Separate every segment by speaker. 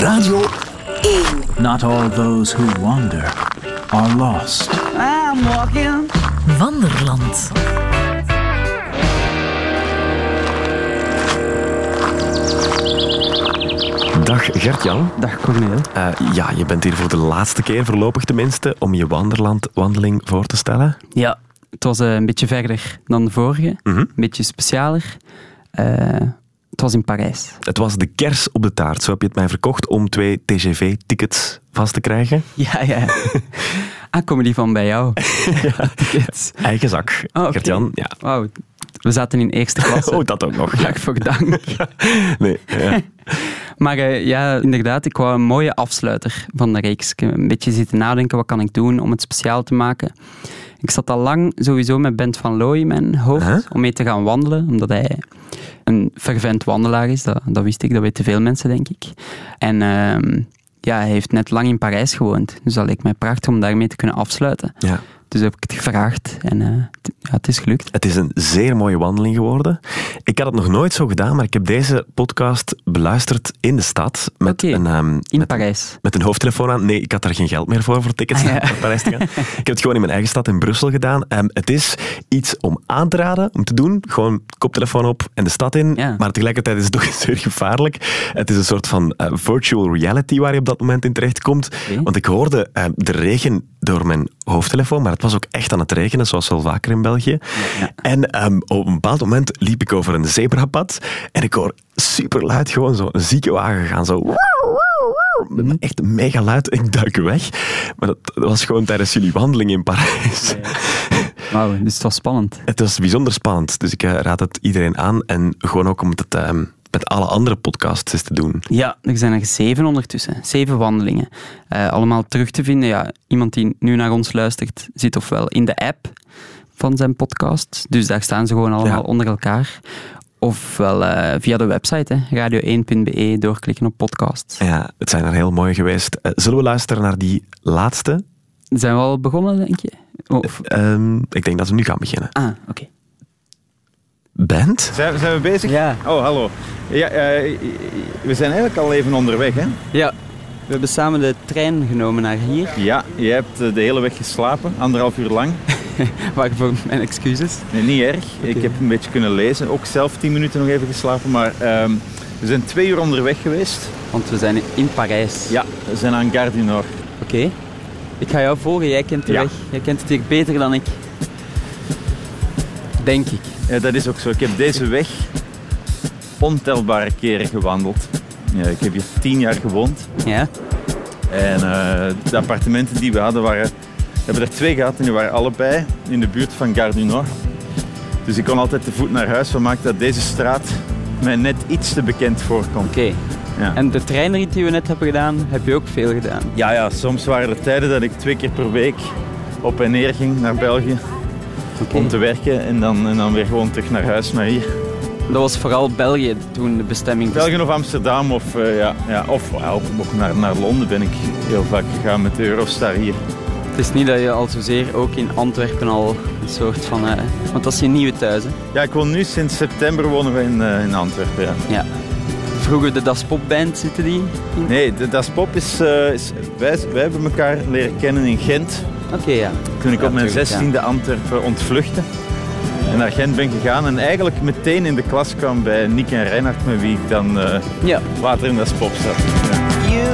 Speaker 1: Radio 1.
Speaker 2: Not all those who wander are lost.
Speaker 3: I'm walking.
Speaker 4: Wanderland.
Speaker 5: Dag Gert-Jan.
Speaker 6: Dag Corneel.
Speaker 5: Eh, ja, je bent hier voor de laatste keer, voorlopig tenminste, om je wanderlandwandeling voor te stellen.
Speaker 6: Ja, het was eh, een beetje verder dan de vorige. Een beetje specialer. Eh, het was in Parijs.
Speaker 5: Het was de kers op de taart, zo heb je het mij verkocht, om twee TGV-tickets vast te krijgen.
Speaker 6: Ja, ja. ah, komen die van bij jou? Tickets.
Speaker 5: Eigen zak,
Speaker 6: Ah, oké.
Speaker 5: Gert-Jan. Ja.
Speaker 6: Wauw, we zaten in eerste klasse.
Speaker 5: Oh, dat ook nog.
Speaker 6: Dank voor dank.
Speaker 5: Nee, ja.
Speaker 6: Maar eh, ja, inderdaad, ik wou een mooie afsluiter van de reeks. Ik heb een beetje zitten nadenken, wat kan ik doen om het speciaal te maken? Ik zat al lang sowieso met Bent van Looy in mijn hoofd
Speaker 5: Huh?
Speaker 6: om mee te gaan wandelen, omdat hij een fervent wandelaar is. Dat, dat wist ik, dat weten veel mensen, denk ik. En ehm, ja, hij heeft net lang in Parijs gewoond, dus dat leek mij prachtig om daarmee te kunnen afsluiten.
Speaker 5: Ja.
Speaker 6: Dus heb ik het gevraagd en eh, het- ja, het is gelukt.
Speaker 5: Het is een zeer mooie wandeling geworden. Ik had het nog nooit zo gedaan, maar ik heb deze podcast beluisterd in de stad. Met
Speaker 6: Oké,
Speaker 5: een, ehm,
Speaker 6: In
Speaker 5: met-
Speaker 6: Parijs.
Speaker 5: Met een hoofdtelefoon aan. Nee, ik had daar geen geld meer voor, voor tickets
Speaker 6: Ah, ja.
Speaker 5: naar Parijs te gaan. ik heb het gewoon in mijn eigen stad in Brussel gedaan. Ehm, het is iets om aan te raden, om te doen. Gewoon koptelefoon op en de stad in.
Speaker 6: Ja.
Speaker 5: Maar tegelijkertijd is het ook zeer gevaarlijk. Het is een soort van eh, virtual reality waar je op dat moment in terechtkomt.
Speaker 6: Oké.
Speaker 5: Want ik hoorde ehm, de regen door mijn hoofdtelefoon, maar het was ook echt aan het regenen, zoals wel vaker in België. En ehm, op een bepaald moment liep ik over een zebrapad en ik hoor superluid gewoon zo'n ziekenwagen gaan, zo... Echt mega luid. Ik duik weg. Maar dat, dat was gewoon tijdens jullie wandeling in Parijs.
Speaker 6: Wauw, dus het was spannend.
Speaker 5: Het was bijzonder spannend. Dus ik eh, raad het iedereen aan. En gewoon ook om het eh, met alle andere podcasts eens te doen.
Speaker 6: Ja, er zijn er zeven ondertussen. Zeven wandelingen. Eh, allemaal terug te vinden. Ja, iemand die nu naar ons luistert, zit ofwel in de app van zijn podcast. Dus daar staan ze gewoon allemaal
Speaker 5: Ja.
Speaker 6: onder elkaar. Ofwel eh, via de website, hè, radio1.be, doorklikken op podcasts.
Speaker 5: Ja, het zijn er heel mooi geweest. Eh, zullen we luisteren naar die laatste?
Speaker 6: Zijn we al begonnen, denk je? Of...
Speaker 5: Ehm, ik denk dat we nu gaan beginnen.
Speaker 6: Ah, oké.
Speaker 5: Bent?
Speaker 7: Zijn, zijn we bezig?
Speaker 6: Ja.
Speaker 7: Oh, hallo. Ja, eh, we zijn eigenlijk al even onderweg, hè?
Speaker 6: Ja, we hebben samen de trein genomen naar hier.
Speaker 7: Ja, je hebt eh, de hele weg geslapen, anderhalf uur lang.
Speaker 6: Waarvoor mijn excuses.
Speaker 7: Nee, niet erg. Ik heb een beetje kunnen lezen. Ook zelf tien minuten nog even geslapen, maar ehm, we zijn twee uur onderweg geweest.
Speaker 6: Want we zijn in Parijs.
Speaker 7: Ja, we zijn aan Gare du Nord.
Speaker 6: Oké. Ik ga jou volgen. Jij kent de
Speaker 7: Ja.
Speaker 6: weg. Jij kent het hier beter dan ik. Denk ik.
Speaker 7: Ja, Eh, dat is ook zo. Ik heb deze weg ontelbare keren gewandeld. Ja, ik heb hier tien jaar gewoond.
Speaker 6: Ja?
Speaker 7: En eh, de appartementen die we hadden waren... We hebben er twee gehad en die waren allebei in de buurt van Gare du Nord. Dus ik kon altijd te voet naar huis, wat maakt dat deze straat mij net iets te bekend voorkomt.
Speaker 6: Oké.
Speaker 7: Ja.
Speaker 6: En de treinrit die we net hebben gedaan, heb je ook veel gedaan.
Speaker 7: ja, ja, soms waren er tijden dat ik twee keer per week op en neer ging naar België
Speaker 6: Oké.
Speaker 7: om te werken en dan, en dan weer gewoon terug naar huis, naar hier.
Speaker 6: Dat was vooral België toen de bestemming...
Speaker 7: België of Amsterdam of, eh, ja, ja, of wauw, ook naar, naar Londen ben ik heel vaak gegaan met de Eurostar hier.
Speaker 6: Het is niet dat je al zozeer ook in Antwerpen al een soort van... eh, want dat is je nieuwe thuis, hè?
Speaker 7: Ja, ik woon nu sinds september wonen we in, eh, in Antwerpen. Ja.
Speaker 6: Ja. Vroeger de Das Pop Band, zitten die? in-
Speaker 7: Nee, de Das Pop is, eh, is wij, wij hebben elkaar leren kennen in Gent.
Speaker 6: Oké, ja.
Speaker 7: Toen ik
Speaker 6: Ja,
Speaker 7: op mijn
Speaker 6: tuurlijk, ja.
Speaker 7: 16e Antwerpen ontvluchtte. En naar Gent ben gegaan en eigenlijk meteen in de klas kwam bij Nick en Reinhard, met wie ik dan eh,
Speaker 6: Ja.
Speaker 7: later in Das Pop zat. Ja.
Speaker 1: You,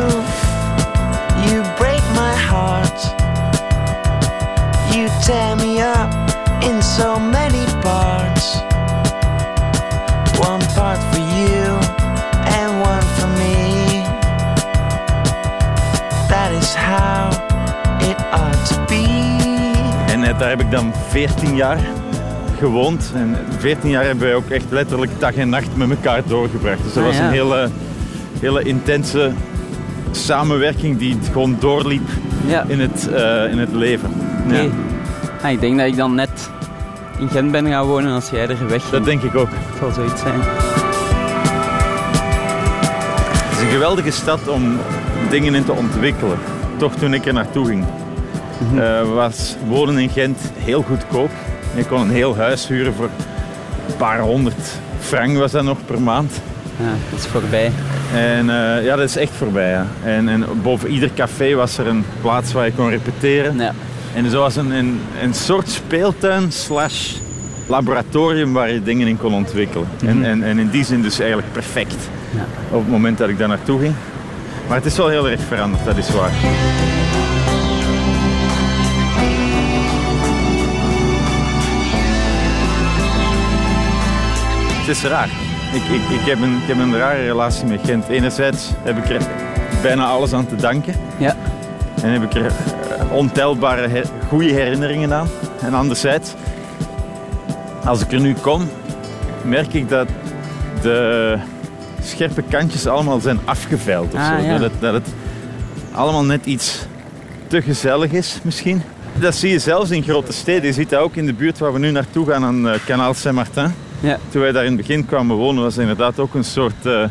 Speaker 1: you break my heart. You tear me up in so many parts. One part for you and one for me. That is how it ought to be.
Speaker 7: En eh, daar heb ik dan 14 jaar gewoond. En 14 jaar hebben wij ook echt letterlijk dag en nacht met elkaar doorgebracht. Dus dat
Speaker 6: Ah,
Speaker 7: was
Speaker 6: ja.
Speaker 7: een hele, hele intense samenwerking die gewoon doorliep
Speaker 6: Ja.
Speaker 7: in het, eh, in het leven. Ja.
Speaker 6: Oké. Ah, ik denk dat ik dan net in Gent ben gaan wonen als jij er weg
Speaker 7: Dat denk ik ook.
Speaker 6: zal zoiets zijn.
Speaker 7: Het is een geweldige stad om dingen in te ontwikkelen. Toch toen ik er naartoe ging, eh, was wonen in Gent heel goedkoop. Je kon een heel huis huren voor een paar honderd frank was dat nog per maand.
Speaker 6: Ja, dat is voorbij.
Speaker 7: En eh, ja, dat is echt voorbij. ja. En, en boven ieder café was er een plaats waar je kon repeteren.
Speaker 6: Ja.
Speaker 7: En zo was een, een, een soort speeltuin slash laboratorium waar je dingen in kon ontwikkelen. en, en, en in die zin dus eigenlijk perfect
Speaker 6: Ja.
Speaker 7: op het moment dat ik daar naartoe ging. Maar het is wel heel erg veranderd, dat is waar. Het is raar. Ik, ik, ik, heb een, ik heb een rare relatie met Gent. Enerzijds heb ik er bijna alles aan te danken.
Speaker 6: Ja.
Speaker 7: En heb ik er eh, ontelbare he- goede herinneringen aan. En anderzijds, als ik er nu kom, merk ik dat de scherpe kantjes allemaal zijn afgeveild. Of
Speaker 6: Ah,
Speaker 7: zo.
Speaker 6: ja.
Speaker 7: dat, het, dat het allemaal net iets te gezellig is misschien. Dat zie je zelfs in grote steden. Je ziet dat ook in de buurt waar we nu naartoe gaan, aan eh Kanaal Saint-Martin.
Speaker 6: Ja.
Speaker 7: Toen wij daar in het begin kwamen wonen, was het inderdaad ook een soort eh,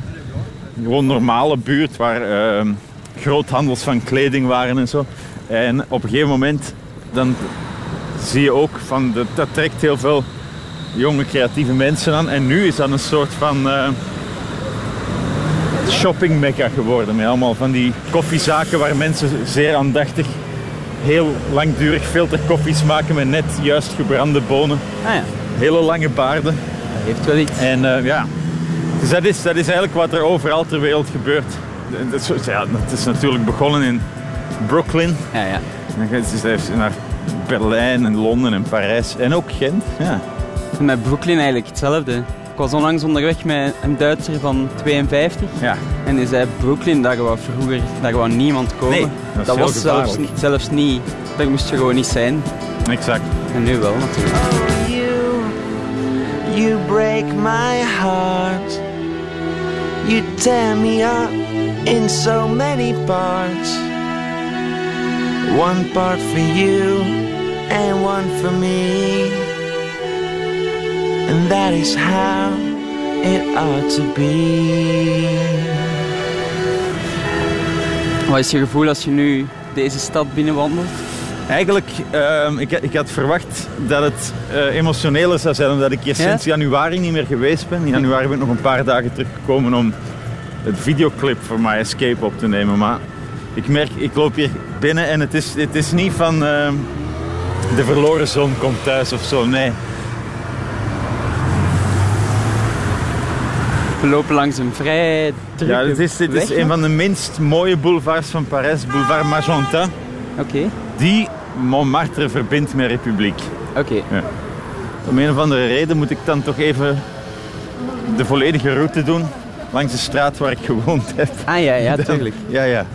Speaker 7: gewoon normale buurt waar eh, groothandels van kleding waren en zo. En op een gegeven moment dan zie je ook van de, dat trekt heel veel jonge creatieve mensen aan. En nu is dat een soort van eh, shopping mecca geworden. Met allemaal van die koffiezaken waar mensen zeer aandachtig heel langdurig filterkoffies maken met net juist gebrande bonen.
Speaker 6: Ah ja,
Speaker 7: Hele lange baarden.
Speaker 6: dat heeft wel iets.
Speaker 7: En eh, ja, dus dat is, dat is eigenlijk wat er overal ter wereld gebeurt. En Dat is, ja, het is natuurlijk begonnen in Brooklyn.
Speaker 6: Ja, ja.
Speaker 7: En dan gaat het dus naar Berlijn en Londen en Parijs en ook Gent. Ja.
Speaker 6: Met Brooklyn eigenlijk hetzelfde. Ik was onlangs onderweg met een Duitser van 52
Speaker 7: ja.
Speaker 6: en die zei Brooklyn, daar wou vroeger daar wou niemand komen.
Speaker 7: Nee, dat is heel
Speaker 6: was zelfs,
Speaker 7: gevaarlijk.
Speaker 6: niet- zelfs niet, daar moest je gewoon niet zijn.
Speaker 7: Exact.
Speaker 6: En nu wel natuurlijk.
Speaker 1: You, you break my heart. You tear me up in so many parts. One part for you and one for me. And that is how it ought to be.
Speaker 6: Wat is je gevoel als je nu deze stad binnenwandelt?
Speaker 7: Eigenlijk, ehm, ik, ik had verwacht dat het eh, emotioneler zou zijn, omdat ik hier
Speaker 6: Ja?
Speaker 7: sinds januari niet meer geweest ben. In januari ben ik nog een paar dagen teruggekomen om het videoclip voor My Escape op te nemen. Maar ik merk, ik loop hier binnen en het is, het is niet van ehm, de verloren zoon komt thuis of zo. Nee,
Speaker 6: We lopen langs een vrij drukke
Speaker 7: ja, dit is, dit
Speaker 6: weg,
Speaker 7: is een
Speaker 6: hè?
Speaker 7: van de minst mooie boulevards van Parijs, boulevard Magenta,
Speaker 6: Oké,
Speaker 7: die Montmartre verbindt met Republiek.
Speaker 6: oké.
Speaker 7: Om een of andere reden moet ik dan toch even de volledige route doen langs de straat waar ik gewoond heb.
Speaker 6: Ah ja, ja, tuurlijk.
Speaker 7: Ja, ja.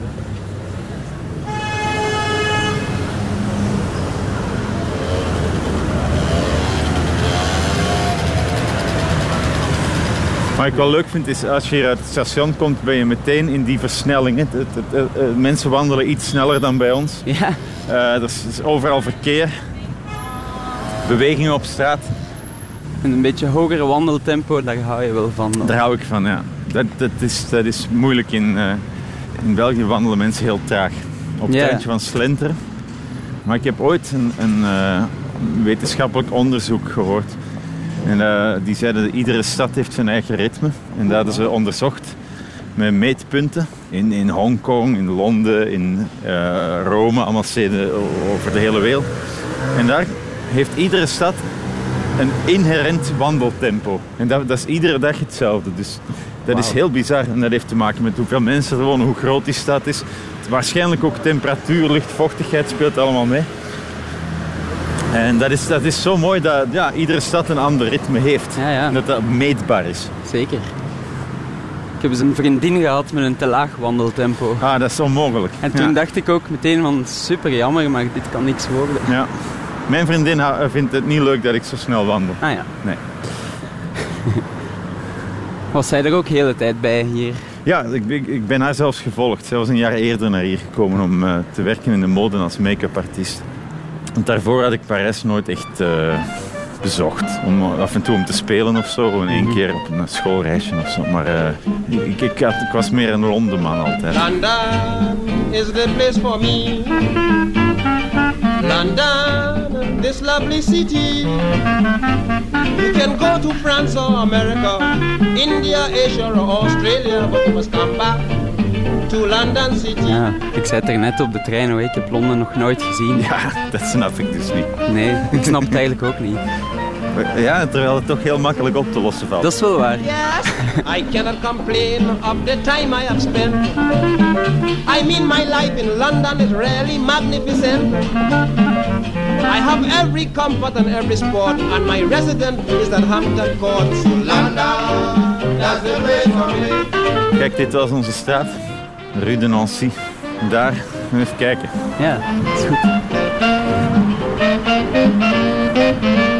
Speaker 7: Wat ik wel leuk vind is als je hier uit het station komt, ben je meteen in die versnellingen. Het- het- het- het- Mensen wandelen iets sneller dan bij ons.
Speaker 6: Ja,
Speaker 7: Eh, er is, is overal verkeer, bewegingen op straat.
Speaker 6: en een beetje hogere wandeltempo, daar hou je wel van.
Speaker 7: Daar hou ik van, ja. Dat, dat, is, dat is moeilijk. In, eh, in België wandelen mensen heel traag. Op het
Speaker 6: Ja.
Speaker 7: randje van slenteren. Maar ik heb ooit een, een eh, wetenschappelijk onderzoek gehoord. En eh, die zeiden dat iedere stad heeft zijn eigen ritme. En dat hadden ze onderzocht met meetpunten. In, in Hongkong, in Londen, in eh, Rome, allemaal steden o- over de hele wereld. En daar heeft iedere stad een inherent wandeltempo. En dat, dat is iedere dag hetzelfde. Dus dat is heel bizar. En dat heeft te maken met hoeveel mensen er wonen, hoe groot die stad is. Waarschijnlijk ook temperatuur, luchtvochtigheid speelt allemaal mee. En dat is, dat is zo mooi dat ja, iedere stad een ander ritme heeft.
Speaker 6: Ja, ja.
Speaker 7: En dat dat meetbaar is.
Speaker 6: Zeker. Ik heb eens een vriendin gehad met een te laag wandeltempo.
Speaker 7: Ah, dat is onmogelijk.
Speaker 6: En toen
Speaker 7: Ja.
Speaker 6: dacht ik ook meteen van super jammer, maar dit kan niks worden.
Speaker 7: Ja. Mijn vriendin ha- vindt het niet leuk dat ik zo snel wandel.
Speaker 6: Ah ja.
Speaker 7: Nee.
Speaker 6: Was zij er ook de hele tijd bij hier?
Speaker 7: Ja, ik, ik, ik ben haar zelfs gevolgd. Zij was een jaar eerder naar hier gekomen om eh, te werken in de mode als make-up artiest. Want daarvoor had ik Parijs nooit echt eh, bezocht. Om, eh, af en toe om te spelen of zo. En één keer op een schoolreisje of zo. Maar eh, ik, ik, had- ik was meer een Londenman altijd.
Speaker 3: London is the place for me. London this lovely city. You can go to France or America, India, Asia or Australia, but you must come back to London City.
Speaker 6: Ja, ik zei het er net op de trein, hoor. ik heb Londen nog nooit gezien.
Speaker 7: Ja, dat snap ik dus niet.
Speaker 6: Nee, ik snap het eigenlijk ook niet.
Speaker 7: Ja, terwijl het toch heel makkelijk op te lossen valt.
Speaker 6: Dat is wel waar.
Speaker 3: Yes, I cannot complain of the time I have spent. I mean, my life in London is really magnificent. I have every comfort and every sport, and my resident is at Hampton Court. London, that's the place for me.
Speaker 7: Kijk, dit was onze straat. Rue de Nancy. Daar, even kijken.
Speaker 6: Ja, dat is goed.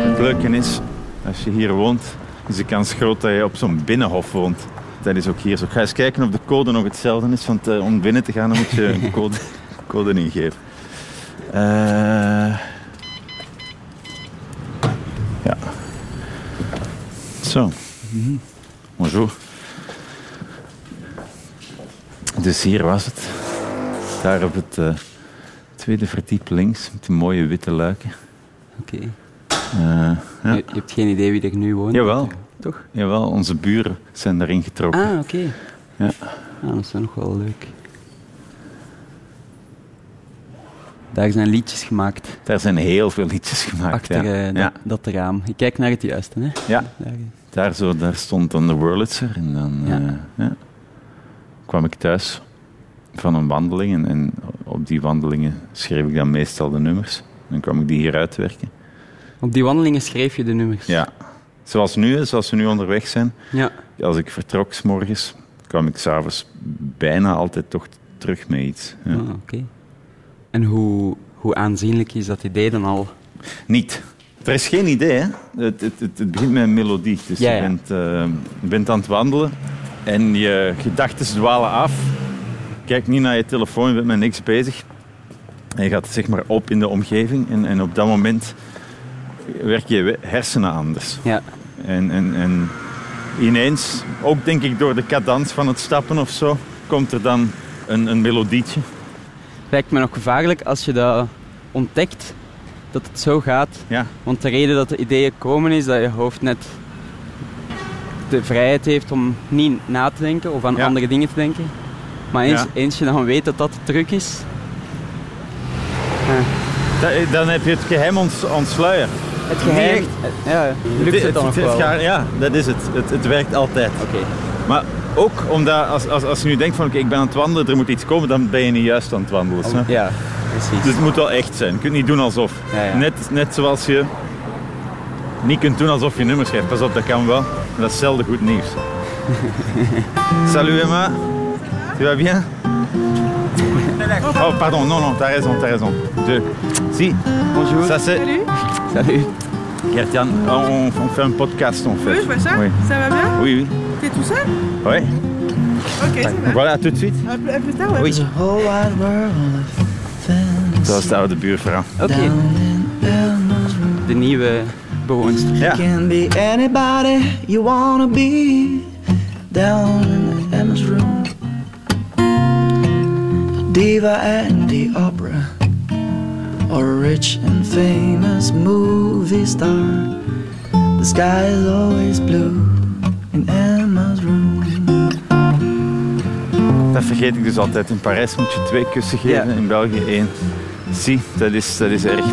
Speaker 7: Het leuke is, als je hier woont, is de kans groot dat je op zo'n binnenhof woont. Dat is ook hier zo. Ik ga eens kijken of de code nog hetzelfde is, want eh, om binnen te gaan dan moet je een code, code ingeven. Eh, ja. Zo. Bonjour. Dus hier was het. Daar op het eh, tweede verdiep links, met die mooie witte luiken.
Speaker 6: Oké.
Speaker 7: Eh, ja.
Speaker 6: Je, je hebt geen idee wie er nu woont?
Speaker 7: Jawel.
Speaker 6: Toch?
Speaker 7: Jawel, onze buren zijn daarin getrokken.
Speaker 6: Ah, oké.
Speaker 7: Ja.
Speaker 6: Ah, dat is dan nog wel leuk. Daar zijn liedjes gemaakt
Speaker 7: Daar zijn heel veel liedjes gemaakt.
Speaker 6: achter
Speaker 7: ja.
Speaker 6: eh, dat,
Speaker 7: ja.
Speaker 6: dat raam. Ik kijk naar het juiste, hè?
Speaker 7: Ja,
Speaker 6: Daar,
Speaker 7: daar, zo, daar stond dan de Wurlitzer. En dan
Speaker 6: Ja.
Speaker 7: eh, ja. kwam ik thuis van een wandeling. En, en op die wandelingen schreef ik dan meestal de nummers. Dan kwam ik die hier uitwerken.
Speaker 6: Op die wandelingen schreef je de nummers.
Speaker 7: Ja, zoals nu, hè, zoals we nu onderweg zijn.
Speaker 6: Ja.
Speaker 7: Als ik vertrok 's morgens, kwam ik s'avonds bijna altijd toch terug met iets. Ja.
Speaker 6: Ah, oké. En hoe, hoe aanzienlijk is dat idee dan al?
Speaker 7: Niet. Er is geen idee, hè? Het, het, het, het begint met een melodie. Dus
Speaker 6: Ja,
Speaker 7: Je,
Speaker 6: ja.
Speaker 7: bent, eh, je bent aan het wandelen en je gedachten dwalen af. Kijk niet naar je telefoon, je bent met niks bezig. En je gaat zeg maar op in de omgeving en, en op dat moment werken je we- hersenen anders.
Speaker 6: Ja.
Speaker 7: En, en, en ineens, ook denk ik door de cadans van het stappen of zo, komt er dan een, een melodietje.
Speaker 6: Lijkt me nog gevaarlijk als je dat ontdekt, dat het zo gaat.
Speaker 7: Ja,
Speaker 6: Want de reden dat de ideeën komen is dat je hoofd net de vrijheid heeft om niet na te denken of aan
Speaker 7: Ja.
Speaker 6: andere dingen te denken. Maar eens,
Speaker 7: Ja.
Speaker 6: eens je dan weet dat dat de truc is,
Speaker 7: da- dan heb je het geheim ons, ontsluierd.
Speaker 6: het geheim...
Speaker 7: echt.
Speaker 6: eh, Ja, lukt het dan nog wel?
Speaker 7: gaat- Ja, dat is het. het. Het werkt altijd.
Speaker 6: Oké.
Speaker 7: Maar ook omdat als, als, als je nu denkt van oké, ik ben aan het wandelen, er moet iets komen, dan ben je niet juist aan het wandelen. snap je?
Speaker 6: Oh, Ja, precies.
Speaker 7: Dus het moet wel echt zijn. Je kunt niet doen alsof.
Speaker 6: Ja, ja.
Speaker 7: Net, net zoals je niet kunt doen alsof je nummers schrijft. Pas op, dat kan wel. Maar dat is zelden goed nieuws. Salut Emma. Tu vas bien? Oh, pardon, non, non, t'as raison, t'as raison. Je- Si,
Speaker 6: Bonjour.
Speaker 7: ça c'est.
Speaker 4: Salut,
Speaker 6: Salut.
Speaker 7: Gert-Jan, on, on fait un podcast en
Speaker 4: oui,
Speaker 7: fait.
Speaker 4: je vois ça.
Speaker 7: Oui,
Speaker 4: Ça va bien
Speaker 7: oui, oui.
Speaker 4: T'es tout seul
Speaker 7: Ouais.
Speaker 4: Ok, Ah. ça va.
Speaker 7: Voilà, tout de suite.
Speaker 4: À plus, à plus tard, ouais.
Speaker 1: There's a whole wide world of things
Speaker 7: Zoals de oude buurvrouw.
Speaker 6: Oké, de nieuwe bewoonster.
Speaker 7: Ja.
Speaker 1: Can be anybody you wanna be down in the Emma's room. Diva and the opera, or a rich and famous movie star. The sky is always blue in Emma's room.
Speaker 7: Dat vergeet ik dus altijd. In Parijs moet je twee kussen geven,
Speaker 6: Ja.
Speaker 7: in België één. Zie, dat is, dat is erg.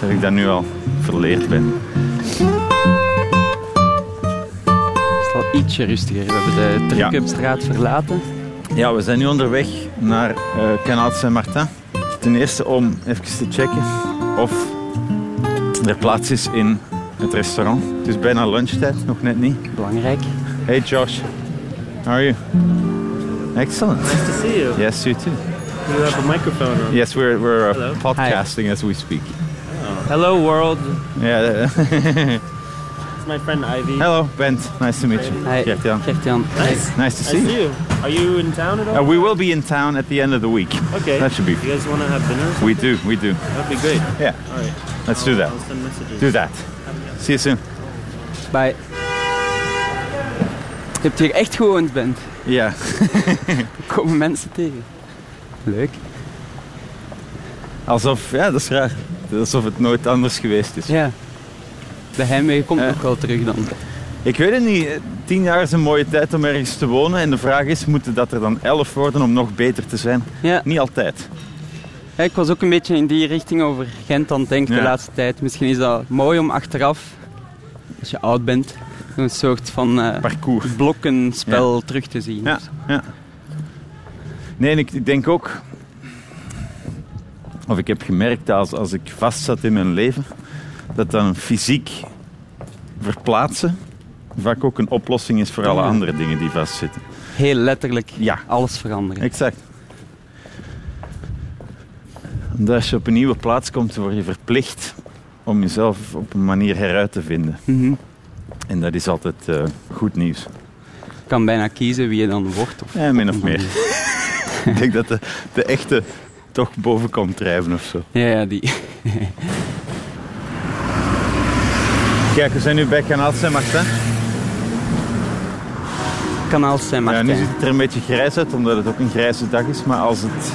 Speaker 7: Dat ik dat nu al verleerd ben.
Speaker 6: Het is al ietsje rustiger. We hebben de
Speaker 7: Ja.
Speaker 6: Truckupstraat verlaten.
Speaker 7: Ja, we zijn nu onderweg naar eh Kanaal Saint-Martin. Ten eerste om even te checken of er plaats is in het restaurant. Het is bijna lunchtijd, nog net niet.
Speaker 6: Belangrijk.
Speaker 7: Hey Josh, how are you? Excellent. Nice to see you. Yes, you too.
Speaker 8: You have a microphone. Or...
Speaker 7: Yes, we're, we're uh,
Speaker 8: Hello.
Speaker 7: podcasting as we speak.
Speaker 8: Hello, world.
Speaker 7: Yeah.
Speaker 8: It's my friend Ivy.
Speaker 7: Hello, Bent. Nice to meet you.
Speaker 6: Hi.
Speaker 7: Gert-Jan.
Speaker 6: Gert-Jan.
Speaker 8: Nice.
Speaker 7: Nice to
Speaker 8: I
Speaker 7: see you.
Speaker 8: see you. Are you in town at all?
Speaker 7: Uh, we will be in town at the end of the week.
Speaker 8: okay.
Speaker 7: that should be-
Speaker 8: You guys want to have dinner?
Speaker 7: We do, we do.
Speaker 8: That'd be great.
Speaker 7: Yeah,
Speaker 8: All right.
Speaker 7: let's do that.
Speaker 8: I'll send messages.
Speaker 7: Do that. See you soon.
Speaker 6: Bye. Je hebt hier echt gewoond, Bent.
Speaker 7: Ja.
Speaker 6: Er komen mensen tegen. Leuk.
Speaker 7: Alsof, ja, dat is raar. het alsof het nooit anders geweest is.
Speaker 6: Ja. Eh. De heimwee komt
Speaker 7: Ja.
Speaker 6: nog wel terug dan.
Speaker 7: Ik weet het niet. eh, Tien jaar is een mooie tijd om ergens te wonen. En de vraag is, moeten dat er dan elf worden om nog beter te zijn?
Speaker 6: Ja.
Speaker 7: Niet altijd.
Speaker 6: Ja, ik was ook een beetje in die richting over Gent aan het denken de
Speaker 7: Ja.
Speaker 6: laatste tijd. Misschien is dat mooi om achteraf, als je oud bent, een soort van eh,
Speaker 7: Parcours.
Speaker 6: blokkenspel terug te zien.
Speaker 7: Ja, ja. Nee, en ik ik denk ook... Of ik heb gemerkt, als, als ik vast zat in mijn leven, dat dan fysiek verplaatsen vaak ook een oplossing is voor alle
Speaker 6: Ja.
Speaker 7: andere dingen die vastzitten.
Speaker 6: Heel letterlijk
Speaker 7: Ja.
Speaker 6: alles veranderen.
Speaker 7: Exact. Omdat als je op een nieuwe plaats komt, word je verplicht om jezelf op een manier heruit te vinden.
Speaker 6: Mhm.
Speaker 7: En dat is altijd eh, goed nieuws.
Speaker 6: Je kan bijna kiezen wie je dan wordt. Of...
Speaker 7: Ja, min of meer. Ik denk dat de, de echte toch boven komt drijven of zo.
Speaker 6: Ja, ja, die.
Speaker 7: Kijk, we zijn nu bij Kanaal Saint-Martin.
Speaker 6: Kanaal saint
Speaker 7: Ja,
Speaker 6: Martin.
Speaker 7: nu ziet het er een beetje grijs uit, omdat het ook een grijze dag is. Maar als het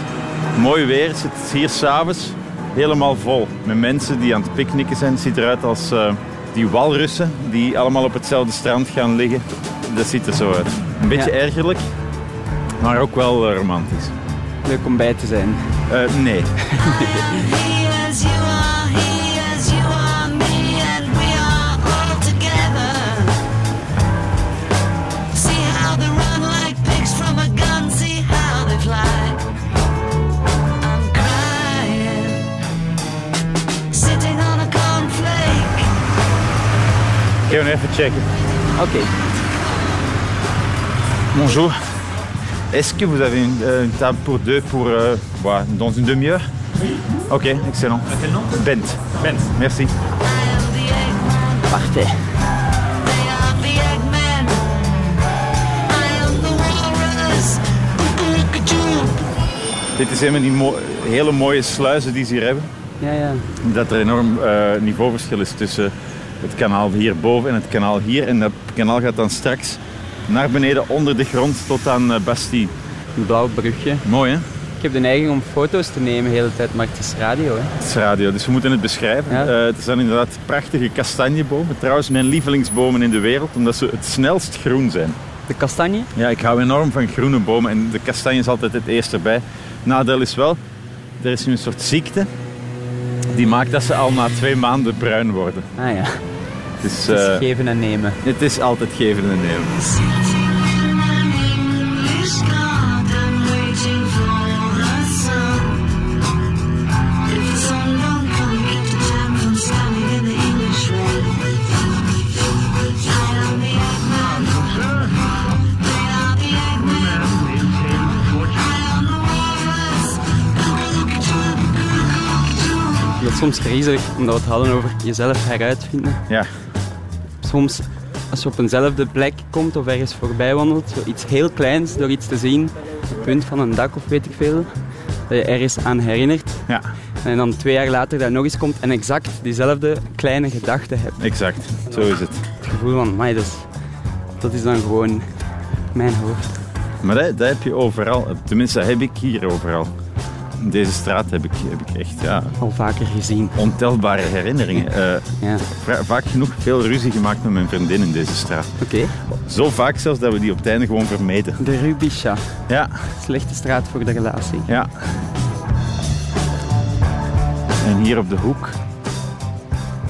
Speaker 7: mooi weer is, zit het hier s'avonds helemaal vol. Met mensen die aan het picknicken zijn. Het ziet eruit als eh, die walrussen die allemaal op hetzelfde strand gaan liggen. Dat ziet er zo uit. Een beetje
Speaker 6: Ja.
Speaker 7: ergerlijk, maar ook wel eh, romantisch.
Speaker 6: Leuk om bij te zijn.
Speaker 7: Eh, nee.
Speaker 9: Sitting on a cornflake
Speaker 7: Ik ga even checken.
Speaker 6: Oké.
Speaker 7: Bonjour. Est-ce que vous avez une, euh, une table pour deux pour euh, bah, dans une demi-heure Ok, excellent. Bent. Bent. Merci.
Speaker 6: Parfait.
Speaker 7: Dit is een van die mo- hele mooie sluizen die ze hier hebben.
Speaker 6: Ja, ja.
Speaker 7: Dat er enorm eh, niveauverschil is tussen het kanaal hierboven en het kanaal hier. En dat kanaal gaat dan straks naar beneden onder de grond tot aan eh, Bastille.
Speaker 6: Een blauw brugje.
Speaker 7: Mooi hè?
Speaker 6: Ik heb de neiging om foto's te nemen de hele tijd, maar het is radio. Hè.
Speaker 7: Het is radio, dus we moeten het beschrijven.
Speaker 6: Ja.
Speaker 7: Eh, het zijn inderdaad prachtige kastanjebomen. Trouwens, mijn lievelingsbomen in de wereld, omdat ze het snelst groen zijn.
Speaker 6: De kastanje?
Speaker 7: Ja, ik hou enorm van groene bomen en de kastanje is altijd het eerste bij. Nadeel is wel, er is nu een soort ziekte die maakt dat ze al na twee maanden bruin worden.
Speaker 6: Ah ja.
Speaker 7: Dus
Speaker 6: Het is
Speaker 7: eh,
Speaker 6: geven en nemen.
Speaker 7: het is altijd geven en nemen.
Speaker 6: Ik ben soms griezelig, omdat we het hadden over jezelf heruitvinden.
Speaker 7: Ja,
Speaker 6: Soms, als je op eenzelfde plek komt of ergens voorbij wandelt, zo iets heel kleins door iets te zien, een punt van een dak of weet ik veel, dat je ergens aan herinnert.
Speaker 7: ja,
Speaker 6: En dan twee jaar later daar nog eens komt en exact diezelfde kleine gedachte hebt.
Speaker 7: exact. Zo is het.
Speaker 6: Het gevoel van, mij dat, is- dat is dan gewoon mijn hoofd.
Speaker 7: Maar dat, dat heb je overal. Tenminste, dat heb ik hier overal. In Deze straat heb ik, heb ik echt ja,
Speaker 6: Al vaker gezien.
Speaker 7: ontelbare herinneringen. Eh,
Speaker 6: Ja,
Speaker 7: va- vaak genoeg veel ruzie gemaakt met mijn vriendin in deze straat.
Speaker 6: oké.
Speaker 7: Zo vaak zelfs dat we die op het einde gewoon vermeden.
Speaker 6: De Rubisha.
Speaker 7: Ja,
Speaker 6: Slechte straat voor de relatie.
Speaker 7: Ja. En hier op de hoek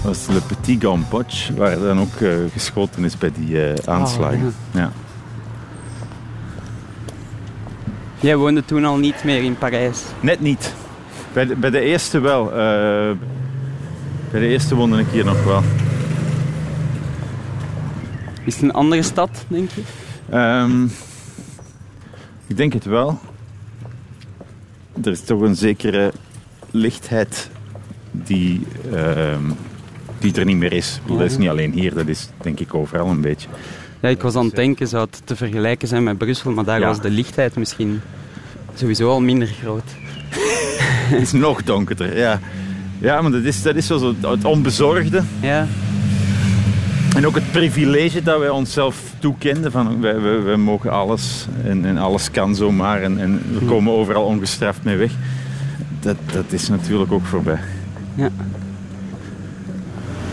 Speaker 7: was Le Petit Gamboch, waar dan ook eh, geschoten is bij die eh, aanslagen.
Speaker 6: Oh,
Speaker 7: ja.
Speaker 6: Jij woonde toen al niet meer in Parijs.
Speaker 7: Net niet. Bij de, bij de eerste wel. eh, bij de eerste woonde ik hier nog wel.
Speaker 6: Is het een andere stad, denk je?
Speaker 7: Ehm, ik denk het wel. Er is toch een zekere lichtheid die, ehm, die er niet meer is. Ik bedoel, Dat is niet alleen hier, dat is denk ik overal een beetje.
Speaker 6: Ja, ik was aan het denken, zou het te vergelijken zijn met Brussel, maar daar
Speaker 7: Ja.
Speaker 6: was de lichtheid misschien sowieso al minder groot.
Speaker 7: Het is nog donkerder, ja. Ja, maar dat is, dat is zo, zo het onbezorgde.
Speaker 6: Ja,
Speaker 7: En ook het privilege dat wij onszelf toekenden. Van, wij, wij, wij mogen alles en, en alles kan zomaar. En, en we komen overal ongestraft mee weg. Dat, dat is natuurlijk ook voorbij.
Speaker 6: ja.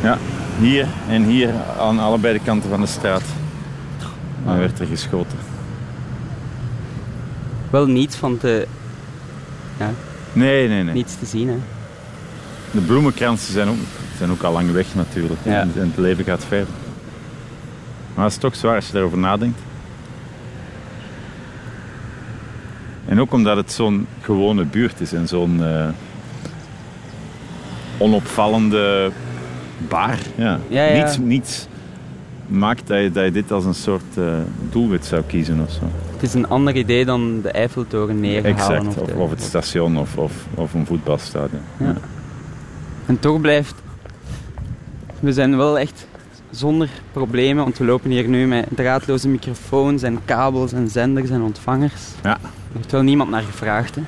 Speaker 7: Ja, hier en hier aan allebei de kanten van de straat. Dan werd er geschoten.
Speaker 6: Wel niets van te,
Speaker 7: Nee, nee, nee.
Speaker 6: niets te zien, hè.
Speaker 7: De bloemenkransen zijn ook, zijn ook al lang weg natuurlijk.
Speaker 6: Ja.
Speaker 7: En, en het leven gaat verder. Maar het is toch zwaar als je daarover nadenkt. En ook omdat het zo'n gewone buurt is en zo'n eh, onopvallende bar. Ja.
Speaker 6: Ja, ja.
Speaker 7: Niets, niets maakt dat je, dat je dit als een soort eh, doelwit zou kiezen of zo.
Speaker 6: Het is een ander idee dan de Eiffeltoren neerhalen.
Speaker 7: Exact. Of,
Speaker 6: de-
Speaker 7: of het station of, of, of een voetbalstadion.
Speaker 6: Ja. En toch blijft... We zijn wel echt zonder problemen, want we lopen hier nu met draadloze microfoons en kabels en zenders en ontvangers.
Speaker 7: Ja.
Speaker 6: Er heeft wel niemand naar gevraagd, hè.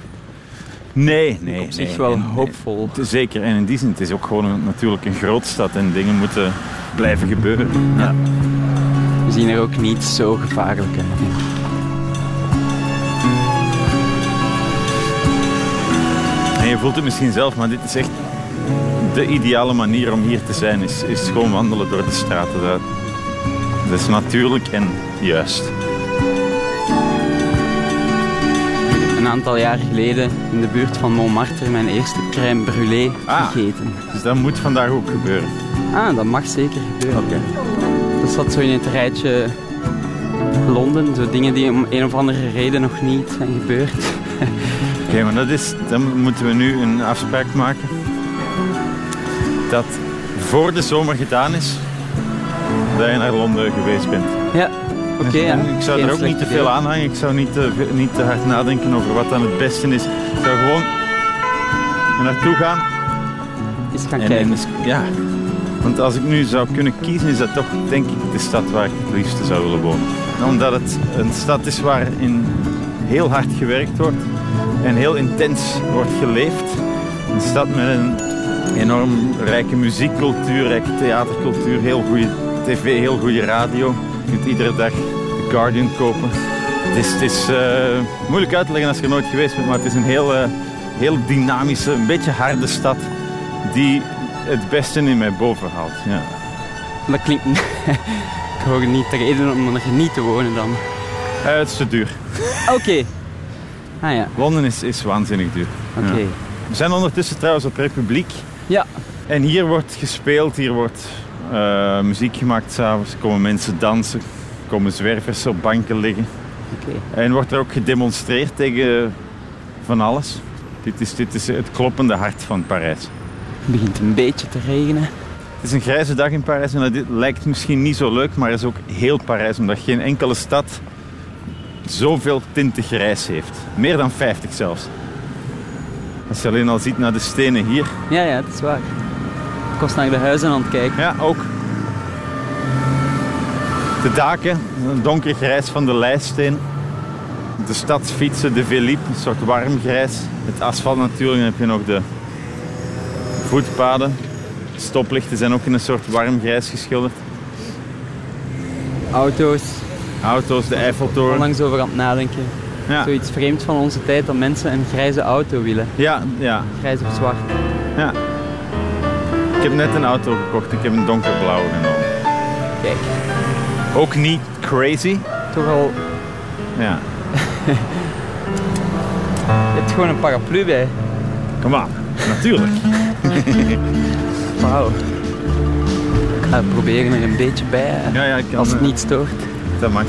Speaker 7: Nee, nee.
Speaker 6: Op zich
Speaker 7: nee,
Speaker 6: wel
Speaker 7: en-
Speaker 6: hoopvol.
Speaker 7: Het is Zeker, en in die zin, het is ook gewoon een- natuurlijk een grootstad en dingen moeten blijven gebeuren. Ja.
Speaker 6: We zien er ook niet zo gevaarlijk uit.
Speaker 7: En je voelt het misschien zelf, maar dit is echt de ideale manier om hier te zijn, is, is gewoon wandelen door de straten. Dat, dat is natuurlijk en juist.
Speaker 6: Een aantal jaar geleden in de buurt van Montmartre mijn eerste crème brûlée
Speaker 7: Ah.
Speaker 6: gegeten.
Speaker 7: Dus dat moet vandaag ook gebeuren.
Speaker 6: Ah, dat mag zeker gebeuren. Dat zat zo in het rijtje Londen, zo dingen die om een of andere reden nog niet zijn gebeurd.
Speaker 7: Oké, maar dat is, dan moeten we nu een afspraak maken. Dat voor de zomer gedaan is, dat je naar Londen geweest bent.
Speaker 6: Ja, oké. ja.
Speaker 7: Dus ik zou
Speaker 6: Geen
Speaker 7: er ook
Speaker 6: slecht
Speaker 7: niet te
Speaker 6: idee.
Speaker 7: veel aan hangen. Ik zou niet te, ve- niet te hard nadenken over wat dan het beste is. Ik zou gewoon er naartoe gaan.
Speaker 6: Eens gaan
Speaker 7: En,
Speaker 6: kijken.
Speaker 7: en eens- ja. Want als ik nu zou kunnen kiezen, is dat toch denk ik de stad waar ik het liefste zou willen wonen. Omdat het een stad is waarin heel hard gewerkt wordt en heel intens wordt geleefd. Een stad met een enorm rijke muziekcultuur, rijke theatercultuur, heel goede tv, heel goede radio. Je kunt iedere dag The Guardian kopen. Het is, het is eh, moeilijk uit te leggen als je er nooit geweest bent, maar het is een heel, eh, heel dynamische, een beetje harde stad die het beste in mij boven haalt. Ja.
Speaker 6: Dat klinkt... ik hoor niet de reden om er niet te wonen dan.
Speaker 7: Eh, het is te duur.
Speaker 6: Oké. Ah ja,
Speaker 7: Londen is, is waanzinnig duur.
Speaker 6: oké.
Speaker 7: Ja. We zijn ondertussen trouwens op Republiek.
Speaker 6: Ja.
Speaker 7: En hier wordt gespeeld, hier wordt eh, muziek gemaakt s'avonds. Komen mensen dansen, komen zwervers op banken liggen.
Speaker 6: Oké.
Speaker 7: En wordt er ook gedemonstreerd tegen van alles. Dit is, dit is het kloppende hart van Parijs.
Speaker 6: Het begint een beetje te regenen.
Speaker 7: Het is een grijze dag in Parijs en dat dit lijkt misschien niet zo leuk, maar is ook heel Parijs, omdat geen enkele stad zoveel tinten grijs heeft. Meer dan 50 zelfs. Als je alleen al ziet naar de stenen hier.
Speaker 6: Ja, ja, het is waar. Ik was naar de huizen aan het kijken.
Speaker 7: Ja, ook. De daken, een donker grijs van de leisteen. De stadsfietsen, de Velip, een soort warm grijs. Het asfalt natuurlijk, dan heb je nog de voetpaden. Stoplichten zijn ook in een soort warm grijs geschilderd.
Speaker 6: Auto's,
Speaker 7: Auto's, de Eiffeltoren.
Speaker 6: onlangs over aan het nadenken.
Speaker 7: Ja,
Speaker 6: Zoiets vreemd van onze tijd dat mensen een grijze auto willen.
Speaker 7: ja, ja,
Speaker 6: Grijs of zwart.
Speaker 7: ja. Ik heb net een auto gekocht. Ik heb een donkerblauwe genomen.
Speaker 6: Kijk,
Speaker 7: Ook niet crazy.
Speaker 6: toch al...
Speaker 7: Ja,
Speaker 6: Je hebt gewoon een paraplu bij.
Speaker 7: kom aan. Natuurlijk.
Speaker 6: Wauw. Ik ga proberen er een beetje bij, hè,
Speaker 7: Ja, ja, ik kan,
Speaker 6: als het
Speaker 7: eh,
Speaker 6: niet stoort.
Speaker 7: Dat mag.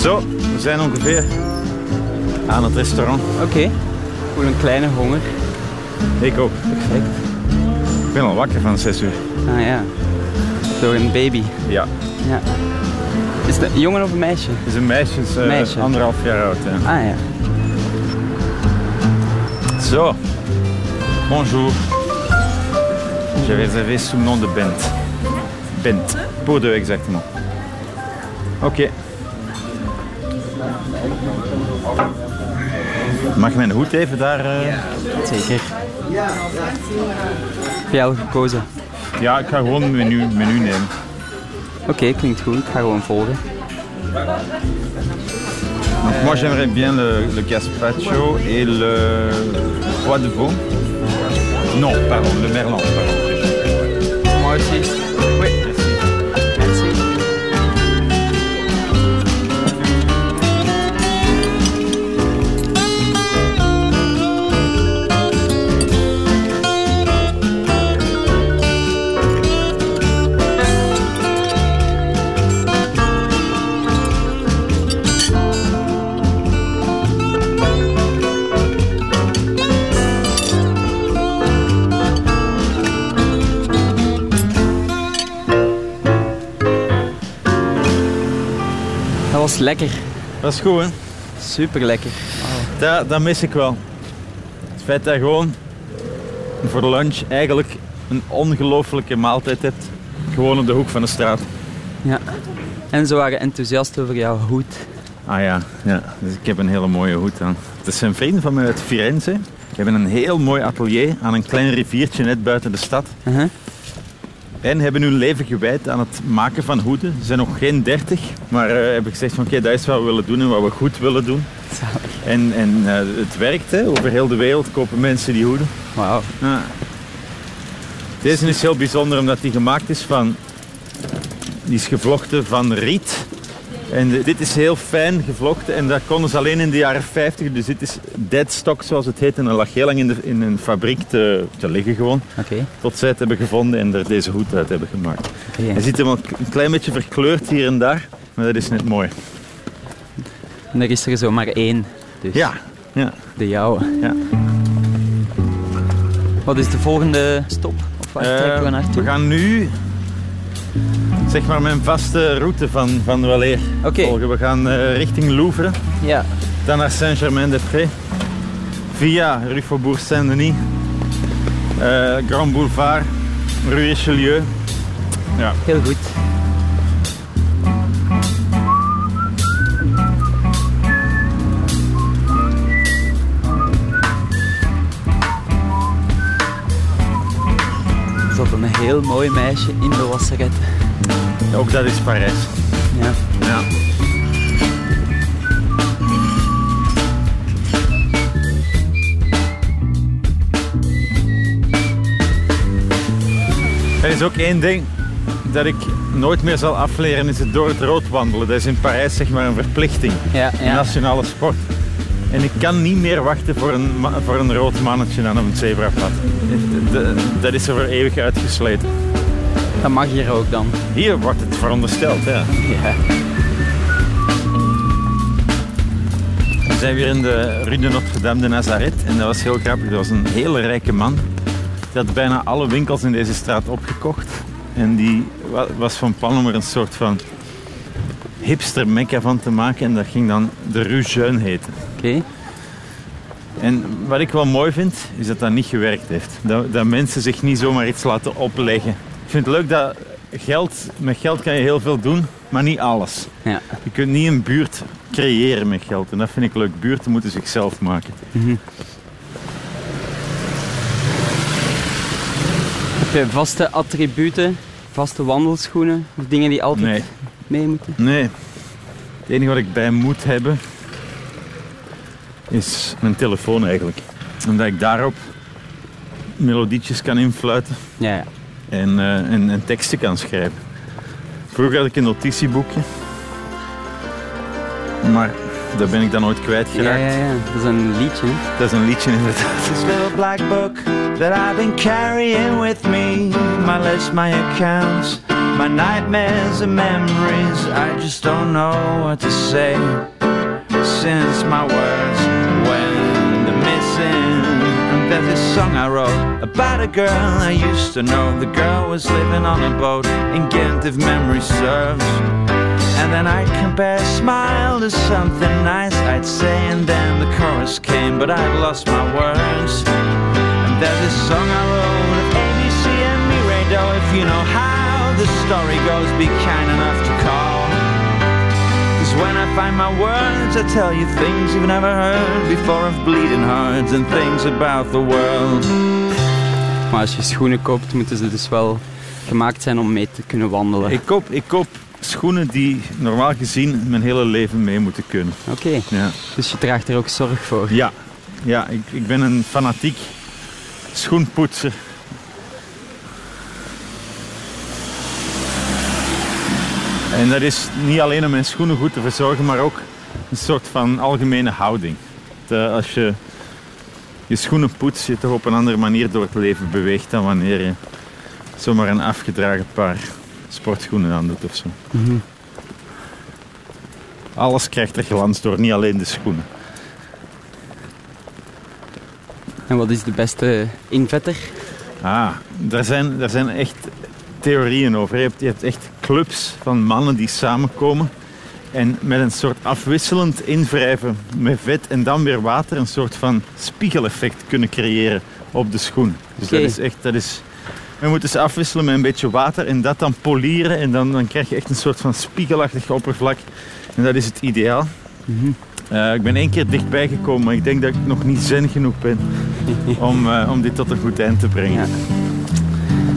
Speaker 7: Zo, we zijn ongeveer aan het restaurant.
Speaker 6: Oké. Ik voel een kleine honger.
Speaker 7: Ik ook.
Speaker 6: Perfect.
Speaker 7: Ik ben al wakker van 6 uur.
Speaker 6: Ah ja. Door een baby.
Speaker 7: Ja.
Speaker 6: Ja. Is het een jongen of een meisje?
Speaker 7: Het is een meisje, is, eh,
Speaker 6: Meisje.
Speaker 7: anderhalf jaar oud. hè.
Speaker 6: Ah ja.
Speaker 7: Zo. Bonjour. Je vais réserver sous le nom de Bent. Bent. Pour deux exactement. Oké. Mag mijn hoed even daar? eh?
Speaker 6: Zeker. Heb jij al gekozen?
Speaker 7: Ja, ik ga gewoon een menu, menu nemen.
Speaker 6: Oké, klinkt goed. Ik ga gewoon volgen.
Speaker 7: Donc moi j'aimerais bien le, le gazpacho et le euh, foie de veau. Non, pardon, le merlan. pardon.
Speaker 6: Moi aussi.
Speaker 7: Oui.
Speaker 6: Dat was lekker.
Speaker 7: Dat is goed hè.
Speaker 6: Super lekker.
Speaker 7: Dat, dat mis ik wel. Het feit dat je gewoon voor lunch eigenlijk een ongelofelijke maaltijd hebt. Gewoon op de hoek van de straat.
Speaker 6: En ze waren enthousiast over jouw hoed.
Speaker 7: Ah ja, ja. Dus ik heb een hele mooie hoed aan. Het is een vriend van mij uit Firenze. Die hebben een heel mooi atelier aan een klein riviertje net buiten de stad.
Speaker 6: Uh-huh.
Speaker 7: En hebben hun leven gewijd aan het maken van hoeden. Ze zijn nog geen dertig, maar eh, hebben gezegd van oké, dat is wat we willen doen en wat we goed willen doen. En, en eh, het werkt, hè. over heel de wereld kopen mensen die hoeden.
Speaker 6: Wauw.
Speaker 7: Ja. Deze is heel bijzonder omdat die gemaakt is van... Die is gevlochten van riet. En de- dit is heel fijn gevlochten en dat konden ze alleen in de jaren 50. Dus dit is deadstock zoals het heet. En dat lag heel lang in, de, in een fabriek te, te liggen gewoon.
Speaker 6: Oké.
Speaker 7: Tot zij het hebben gevonden en er deze hoed uit hebben gemaakt.
Speaker 6: Oké.
Speaker 7: Hij ziet hem al een klein beetje verkleurd hier en daar. Maar dat is net mooi.
Speaker 6: En er is er zomaar één. Dus
Speaker 7: Ja, ja.
Speaker 6: de jouwe.
Speaker 7: Ja.
Speaker 6: Wat is de volgende stop? Of waar trekken we
Speaker 7: Eh,
Speaker 6: naartoe?
Speaker 7: gaan nu zeg maar mijn vaste route van, van Waleer
Speaker 6: Oké.
Speaker 7: volgen. We gaan eh, richting Louvre,
Speaker 6: Ja.
Speaker 7: dan naar Saint-Germain-des-Prés, via Rue Faubourg Saint-Denis, eh, Grand Boulevard, Rue Richelieu. Ja,
Speaker 6: Heel goed. Er zat een heel mooi meisje in de wasseret.
Speaker 7: ook dat is Parijs.
Speaker 6: Ja.
Speaker 7: Ja. Er is ook één ding dat ik nooit meer zal afleren, is het door het rood wandelen. Dat is in Parijs zeg maar een verplichting,
Speaker 6: Ja,
Speaker 7: een
Speaker 6: ja.
Speaker 7: nationale sport. En ik kan niet meer wachten voor een, ma- voor een rood mannetje aan een zebrapad. Het- de- Dat is er voor eeuwig uitgesleten.
Speaker 6: Dat mag hier ook dan.
Speaker 7: Hier wordt het verondersteld, ja.
Speaker 6: Ja.
Speaker 7: We zijn weer in de Rue de Notre-Dame de Nazareth. En dat was heel grappig. Dat was een hele rijke man. Die had bijna alle winkels in deze straat opgekocht. En die wa- was van plan om er een soort van hipster mekka van te maken. En dat ging dan de Rue Jeune heten.
Speaker 6: Oké.
Speaker 7: En wat ik wel mooi vind, is dat dat niet gewerkt heeft. Dat, dat mensen zich niet zomaar iets laten opleggen. Ik vind het leuk dat geld, met geld kan je heel veel doen, maar niet alles.
Speaker 6: Ja.
Speaker 7: Je kunt niet een buurt creëren met geld. En dat vind ik leuk. Buurten moeten zichzelf maken.
Speaker 6: Heb je vaste attributen, vaste wandelschoenen of dingen die altijd
Speaker 7: Nee,
Speaker 6: mee moeten?
Speaker 7: nee. Het enige wat ik bij moet hebben is mijn telefoon eigenlijk. Omdat ik daarop melodietjes kan influiten
Speaker 6: Ja, ja.
Speaker 7: en, eh, en, en teksten kan schrijven. Vroeger had ik een notitieboekje. Maar dat ben ik dan ooit
Speaker 6: Ja,
Speaker 7: kwijtgeraakt.
Speaker 6: ja, ja. Dat is een liedje. hè.
Speaker 7: Dat is een liedje inderdaad.
Speaker 10: This little black book that I've been carrying with me. My list, my accounts, my nightmares and memories. I just don't know what to say since my words went missing. And there's this song I wrote about a girl I used to know. The girl was living on a boat in Ghent, if memory serves. And then I compare smile to something nice I'd say And then the chorus came but I'd lost my words And there's this song I wrote of ABC and Miredo If you know how the story goes be kind enough to call Cause when I find my words I tell you things you've never heard Before of bleeding hearts and things about the world
Speaker 6: Maar als je schoenen koopt, moeten ze dus wel gemaakt zijn om mee te kunnen wandelen.
Speaker 7: Ik koop, ik koop schoenen die normaal gezien mijn hele leven mee moeten kunnen.
Speaker 6: Oké,
Speaker 7: Ja,
Speaker 6: dus je draagt er ook zorg voor.
Speaker 7: ja, ja ik, ik ben een fanatiek schoenpoetser. En dat is niet alleen om mijn schoenen goed te verzorgen, maar ook een soort van algemene houding. Dat, eh, als je je schoenen poetst, je toch op een andere manier door het leven beweegt dan wanneer je zomaar een afgedragen paar sportschoenen aan doet of zo.
Speaker 6: Mhm.
Speaker 7: Alles krijgt er glans door, niet alleen de schoenen.
Speaker 6: En wat is de beste invetter?
Speaker 7: Ah, daar zijn, daar zijn echt theorieën over. Je hebt, je hebt echt clubs van mannen die samenkomen en met een soort afwisselend invrijven met vet en dan weer water een soort van spiegeleffect kunnen creëren op de schoen. Dus
Speaker 6: Oké.
Speaker 7: dat is echt, dat is... Je moet dus afwisselen met een beetje water en dat dan polieren en dan, dan krijg je echt een soort van spiegelachtig oppervlak. En dat is het ideaal. Eh, ik ben één keer dichtbij gekomen, maar ik denk dat ik nog niet zen genoeg ben om, eh, om dit tot een goed eind te brengen.
Speaker 6: Ja.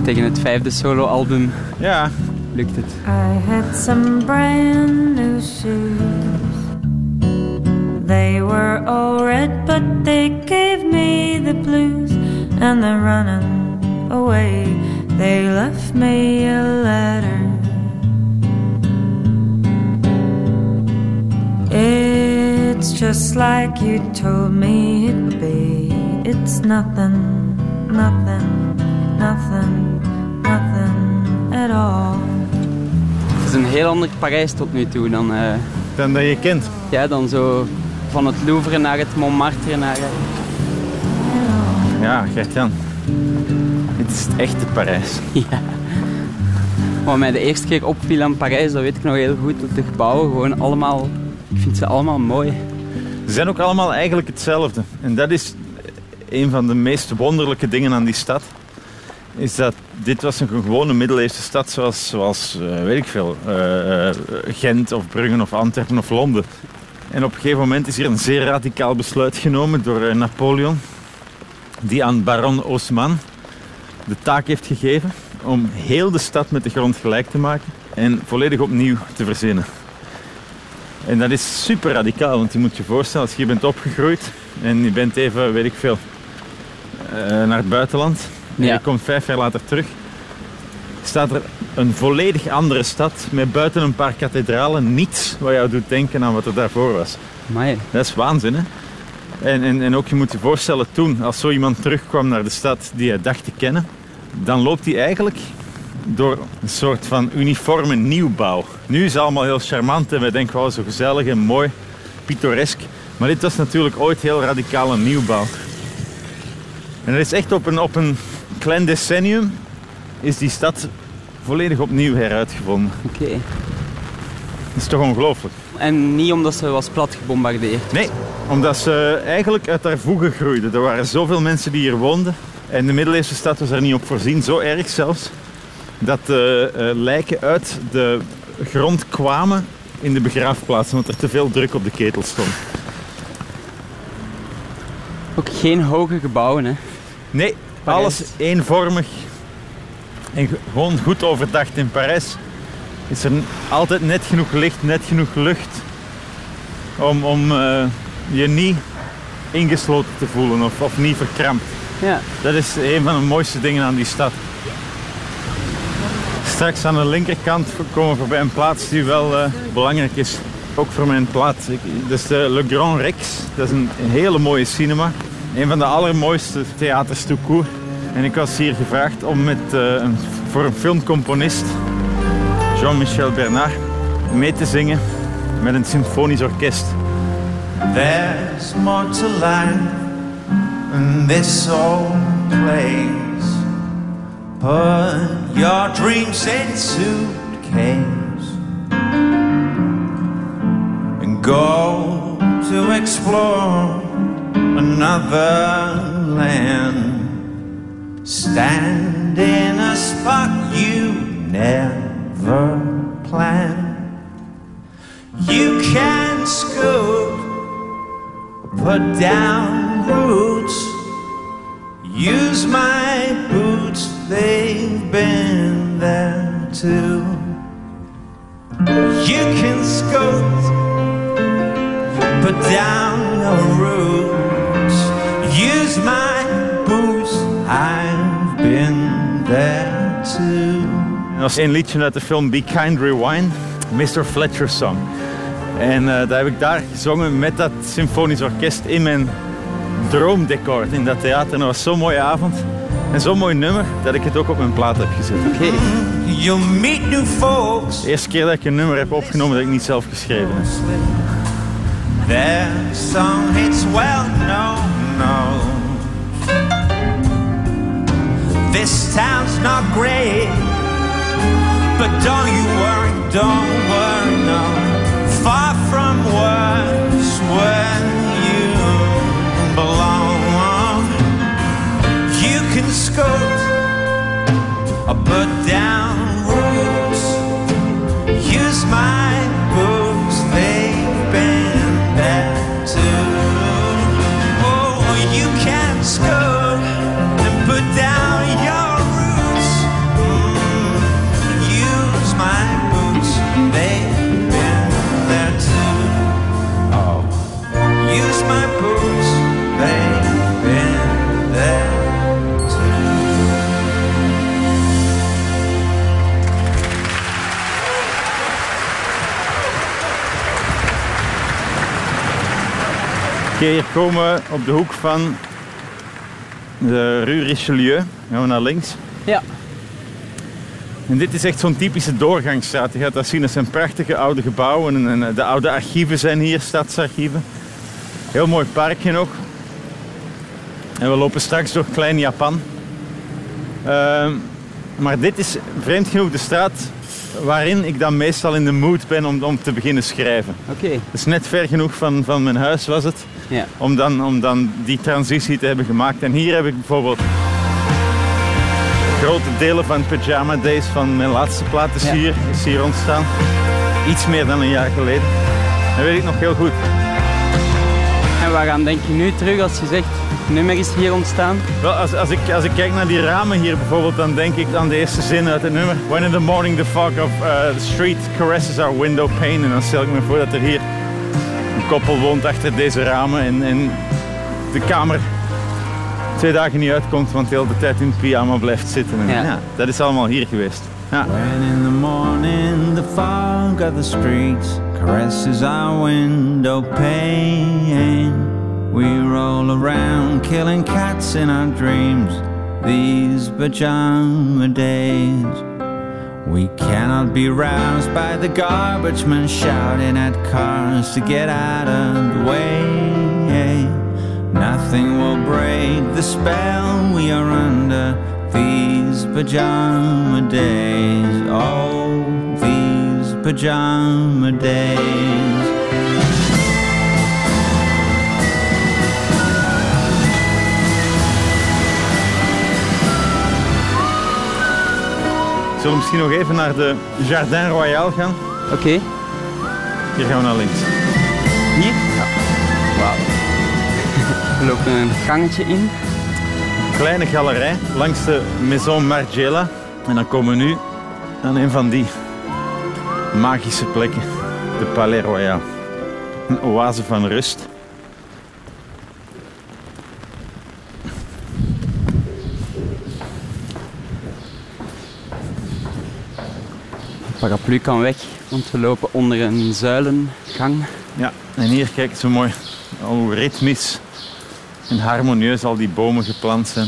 Speaker 6: Tegen het vijfde soloalbum
Speaker 7: Ja,
Speaker 6: lukt het.
Speaker 11: I had some brand new shoes. They were all red, but they gave me the blues. And they're running away. They left me a letter. It's just like you told me it'd be. It's nothing, nothing, nothing, nothing at all.
Speaker 6: Het is een heel ander Parijs tot nu toe dan, eh,
Speaker 7: dan dat je kent.
Speaker 6: ja, dan zo van het Louvre naar het Montmartre naar... eh,
Speaker 7: Ja, Gert-Jan. Dit is het echte Parijs.
Speaker 6: Wat mij de eerste keer opviel aan Parijs, dat weet ik nog heel goed, dat de gebouwen gewoon allemaal... Ik vind ze allemaal mooi.
Speaker 7: Ze zijn ook allemaal eigenlijk hetzelfde. En dat is een van de meest wonderlijke dingen aan die stad. Is dat dit was een gewone middeleeuwse stad zoals, zoals eh, weet ik veel, eh, eh, Gent of Bruggen of Antwerpen of Londen. En op een gegeven moment is hier een zeer radicaal besluit genomen door eh, Napoleon. Die aan baron Osman de taak heeft gegeven om heel de stad met de grond gelijk te maken. En volledig opnieuw te verzinnen. En dat is super radicaal, want je moet je voorstellen, als je hier bent opgegroeid en je bent even, weet ik veel, eh, naar het buitenland en
Speaker 6: Ja.
Speaker 7: je komt vijf jaar later terug, staat er een volledig andere stad met buiten een paar kathedralen niets wat jou doet denken aan wat er daarvoor was.
Speaker 6: Amai.
Speaker 7: Dat is waanzin, hè? En, en, en ook, je moet je voorstellen, toen, als zo iemand terugkwam naar de stad die hij dacht te kennen, dan loopt hij eigenlijk door een soort van uniforme nieuwbouw. Nu is het allemaal heel charmant en wij denken, wauw, zo gezellig en mooi, pittoresk. Maar dit was natuurlijk ooit heel radicale nieuwbouw. En er is echt op een, op een klein decennium is die stad volledig opnieuw heruitgevonden.
Speaker 6: Oké.
Speaker 7: Dat is toch ongelooflijk?
Speaker 6: En niet omdat ze was plat gebombardeerd.
Speaker 7: Nee, omdat ze eigenlijk uit haar voegen groeiden. Er waren zoveel mensen die hier woonden. En de middeleeuwse stad was er niet op voorzien, zo erg zelfs. Dat de eh, lijken uit de grond kwamen in de begraafplaats, omdat er te veel druk op de ketel stond.
Speaker 6: Ook geen hoge gebouwen, hè.
Speaker 7: Nee,
Speaker 6: Parijs.
Speaker 7: alles eenvormig en ge- gewoon goed overdacht. In Parijs is er n- altijd net genoeg licht, net genoeg lucht om, om eh, je niet ingesloten te voelen of, of niet verkrampt.
Speaker 6: Ja.
Speaker 7: Dat is een van de mooiste dingen aan die stad. Straks aan de linkerkant komen we voorbij een plaats die wel eh, belangrijk is. Ook voor mijn plaats. Ik, dat is de Le Grand Rex. Dat is een, een hele mooie cinema. Een van de allermooiste theaters tout court. En ik was hier gevraagd om met, eh, een, voor een filmcomponist, Jean-Michel Bernard, mee te zingen met een symfonisch orkest.
Speaker 10: There's more to life than this old place. Put your dreams in suitcase and go to explore another land. Stand in a spot you never planned. You can scoop put down roots. Use my boots, they've been there too. You can scoot, but down no route. Use my boots, I've been there too.
Speaker 7: En dat is één liedje uit de film Be Kind Rewind, Mr. Fletcher's Song. En eh, dat heb ik daar gezongen met dat symfonisch orkest in mijn droomdecor in dat theater. En dat was zo'n mooie avond en zo'n mooi nummer dat ik het ook op mijn plaat heb gezet.
Speaker 10: You meet new folks.
Speaker 7: De eerste keer dat ik een nummer heb opgenomen dat ik niet zelf geschreven heb.
Speaker 10: Their song hits well known. No. This town's not great, but don't you worry, don't worry, no. Far from worse where you belong. You can scoot, but down roots. Use my books, they've been there too. Oh, you can scope and put down your roots. Mm, use my boots, they've been there too. Oh, use my boots, they've been there too.
Speaker 7: Oké, hier komen we op de hoek van de Rue Richelieu. Gaan we naar links.
Speaker 12: Ja.
Speaker 7: En dit is echt zo'n typische doorgangsstraat. Je gaat dat zien, dat zijn prachtige oude gebouwen. En, en, eh, de oude archieven zijn hier, stadsarchieven. Heel mooi parkje ook. En we lopen straks door Klein Japan. Ehm, maar dit is vreemd genoeg de straat waarin ik dan meestal in de mood ben om, om te beginnen schrijven.
Speaker 12: Oké.
Speaker 7: Dus net ver genoeg van, van mijn huis was het.
Speaker 12: Ja.
Speaker 7: Om dan, om dan die transitie te hebben gemaakt. En hier heb ik bijvoorbeeld grote delen van Pyjama Days van mijn laatste plaat is, hier, is hier ontstaan. Iets meer dan een jaar geleden. Dat weet ik nog heel goed.
Speaker 12: En waaraan denk je nu terug als je zegt, het nummer is hier ontstaan?
Speaker 7: Wel, als, als, ik, als ik kijk naar die ramen hier bijvoorbeeld, dan denk ik aan de eerste zin uit het nummer. When in the morning the fog of uh, the street caresses our window pane. En dan stel ik me voor dat er hier een koppel woont achter deze ramen. En, en de kamer twee dagen niet uitkomt, want heel de tijd in het pyjama blijft zitten. En
Speaker 10: Ja.
Speaker 7: ja, dat is allemaal hier geweest. Ja.
Speaker 10: When in the morning the fog of the streets caresses our window pane, we roll around killing cats in our dreams. These pajama days, we cannot be roused by the garbage man shouting at cars to get out of the way. Nothing will break the spell we are under. These pajama days, oh, these pajama days.
Speaker 7: Zullen we misschien nog even naar de Jardin Royal gaan?
Speaker 12: Oké.
Speaker 7: Hier gaan we naar links.
Speaker 12: Hier? Ja. Wauw. We lopen een gangetje in.
Speaker 7: Kleine galerij langs de Maison Margiela. En dan komen we nu aan een van die magische plekken. De Palais Royal. Een oase van rust.
Speaker 12: Het paraplu kan weg, want we lopen onder een zuilengang.
Speaker 7: Ja, en hier kijk eens hoe mooi, hoe ritmisch en harmonieus al die bomen geplant zijn.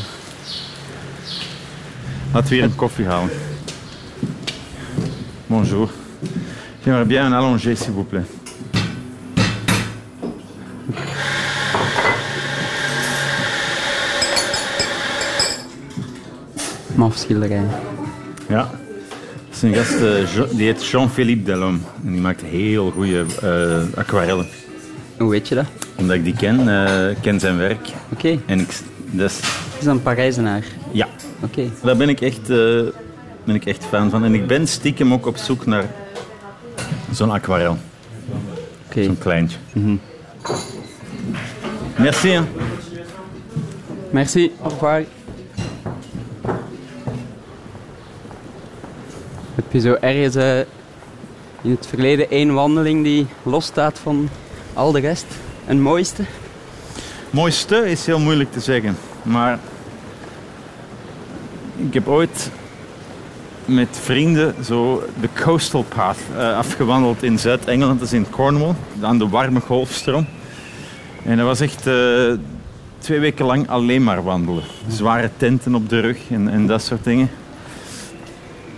Speaker 7: Laten we hier een koffie halen. Bonjour. J'aimerais bien un allongé, s'il vous plaît.
Speaker 12: Maf schilderij.
Speaker 7: Ja. Dat is een gast, eh, Jo- die heet Jean-Philippe Delhomme. En die maakt heel goede eh, aquarellen.
Speaker 12: Hoe weet je dat?
Speaker 7: Omdat ik die ken, eh, ik ken zijn werk.
Speaker 12: Oké.
Speaker 7: En ik, s- dus,
Speaker 12: Het is een Parijzenaar.
Speaker 7: ja.
Speaker 12: Oké.
Speaker 7: Daar ben ik, echt, eh, ben ik echt fan van. En ik ben stiekem ook op zoek naar zo'n aquarel. Zo'n kleintje. Merci. hè.
Speaker 12: Merci, au revoir. Heb je zo ergens eh,
Speaker 6: in het verleden één wandeling die losstaat van al de rest. Een mooiste.
Speaker 7: Mooiste is heel moeilijk te zeggen, maar ik heb ooit met vrienden zo de coastal path eh, afgewandeld in Zuid-Engeland, dat is in Cornwall, aan de warme golfstroom. En dat was echt eh, twee weken lang alleen maar wandelen. Zware tenten op de rug en, en dat soort dingen.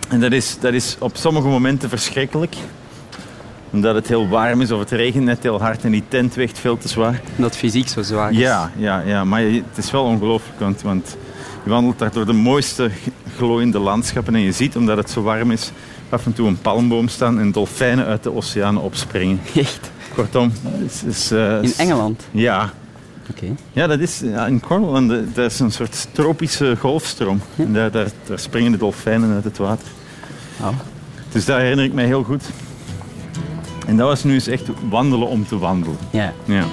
Speaker 7: En dat is, dat is op sommige momenten verschrikkelijk. Omdat het heel warm is of het regent net heel hard en die tent weegt veel te zwaar.
Speaker 6: Dat fysiek zo zwaar is.
Speaker 7: Ja, ja, ja. maar je- het is wel ongelooflijk, want, want je wandelt daar door de mooiste g- glooiende landschappen en je ziet, omdat het zo warm is, af en toe een palmboom staan en dolfijnen uit de oceaan opspringen.
Speaker 6: Echt?
Speaker 7: Kortom, het is... is, eh,
Speaker 6: In Engeland?
Speaker 7: Ja.
Speaker 6: Oké.
Speaker 7: Ja, dat is ja, in Cornwall, en de- dat is een soort tropische golfstroom. En daar, daar, daar springen de dolfijnen uit het water. Dus daar herinner ik mij heel goed. En dat was nu eens echt wandelen om te wandelen.
Speaker 6: Ja.
Speaker 7: Ja.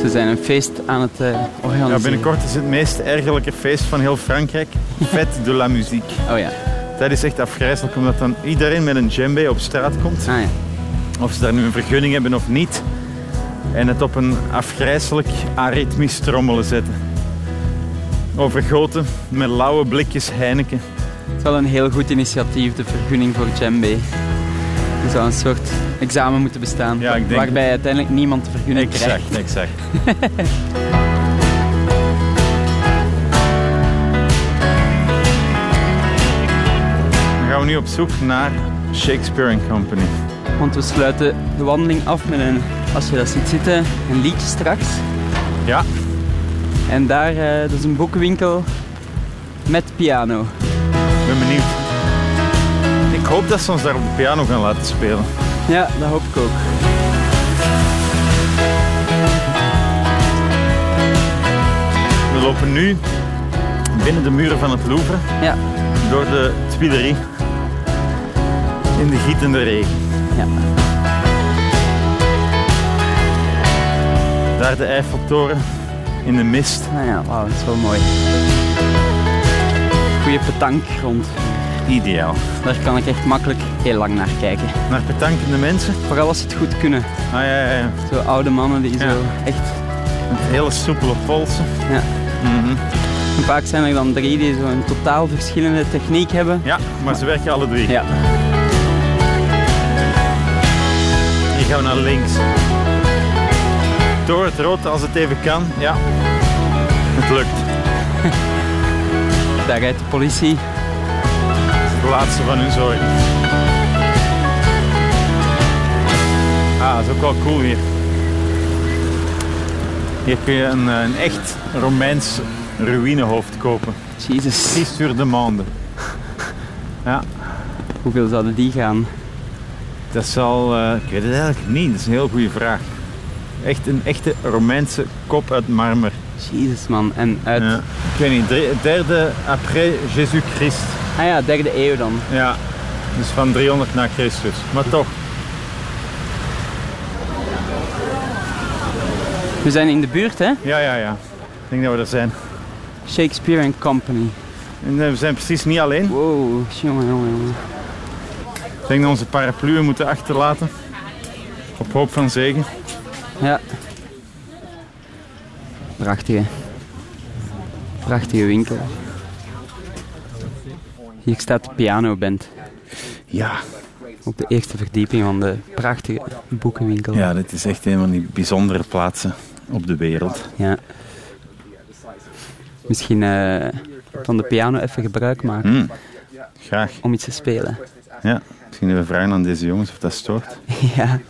Speaker 6: Ze zijn een feest aan het eh, organiseren.
Speaker 7: Ja, binnenkort is het meest ergelijke feest van heel Frankrijk. Fête de la musique.
Speaker 6: Oh ja.
Speaker 7: Dat is echt afgrijzelijk, omdat dan iedereen met een djembe op straat komt.
Speaker 6: Ah,
Speaker 7: Of ze daar nu een vergunning hebben of niet. En het op een afgrijzelijk aritmisch trommelen zetten. Overgoten met lauwe blikjes Heineken.
Speaker 6: Het is wel een heel goed initiatief, de vergunning voor djembe. Er zou een soort examen moeten bestaan,
Speaker 7: denk
Speaker 6: waarbij uiteindelijk niemand de vergunning krijgt.
Speaker 7: Exact, exact. Dan gaan we nu op zoek naar Shakespeare and Company.
Speaker 6: Want we sluiten de wandeling af met een, als je dat ziet zitten, een liedje straks.
Speaker 7: Ja.
Speaker 6: En daar, eh, dat is een boekenwinkel met piano. Ik
Speaker 7: ben benieuwd. Ik hoop dat ze ons daar op de piano gaan laten spelen.
Speaker 6: Ja, dat hoop ik ook.
Speaker 7: We lopen nu binnen de muren van het Louvre
Speaker 6: ja.
Speaker 7: door de Tuileries in de gietende regen.
Speaker 6: Ja.
Speaker 7: Daar de Eiffeltoren in de mist.
Speaker 6: Ah ja, wauw, dat is wel mooi. Goeie petankgrond.
Speaker 7: Ideaal.
Speaker 6: Daar kan ik echt makkelijk heel lang naar kijken.
Speaker 7: Naar petankende mensen?
Speaker 6: Vooral als ze het goed kunnen.
Speaker 7: Ah ja, ja, ja.
Speaker 6: Zo oude mannen die zo echt...
Speaker 7: Met hele soepele polsen.
Speaker 6: Ja. En vaak zijn er dan drie die zo een totaal verschillende techniek hebben.
Speaker 7: Ja, maar ze werken alle drie.
Speaker 6: Ja.
Speaker 7: Hier gaan we naar links. Door het rood als het even kan. Ja. Het lukt.
Speaker 6: Daar rijdt de politie.
Speaker 7: De laatste van hun zooi. Ah, dat is ook wel cool hier. Hier kun je een, eh, een echt Romeins ruïnehoofd kopen.
Speaker 6: Jezus.
Speaker 7: Precies sur demande. Ja.
Speaker 6: Hoeveel zouden die gaan?
Speaker 7: Dat zal, eh, ik weet het eigenlijk niet. Dat is een heel goede vraag. Echt een echte Romeinse kop uit marmer.
Speaker 6: Jezus man, en uit...
Speaker 7: Ik weet niet, drie- derde après Jésus Christ.
Speaker 6: Ah ja, derde eeuw dan.
Speaker 7: Ja, dus van 300 na Christus. Maar toch.
Speaker 6: We zijn in de buurt, hè?
Speaker 7: Ja, ja, ja. Ik denk dat we er zijn.
Speaker 6: Shakespeare and Company.
Speaker 7: En eh, we zijn precies niet alleen.
Speaker 6: Wow, jongen, jongen, jongen.
Speaker 7: Ik denk dat we onze parapluën moeten achterlaten. Op hoop van zegen.
Speaker 6: Ja. Prachtige. Prachtige winkel. Hier staat de pianoband.
Speaker 7: Ja.
Speaker 6: Op de eerste verdieping van de prachtige boekenwinkel.
Speaker 7: Ja, dit is echt een van die bijzondere plaatsen op de wereld.
Speaker 6: Ja. Misschien eh, van de piano even gebruik maken.
Speaker 7: Hmm, Graag.
Speaker 6: Om iets te spelen.
Speaker 7: Ja, misschien even vragen aan deze jongens of dat stoort.
Speaker 6: ja.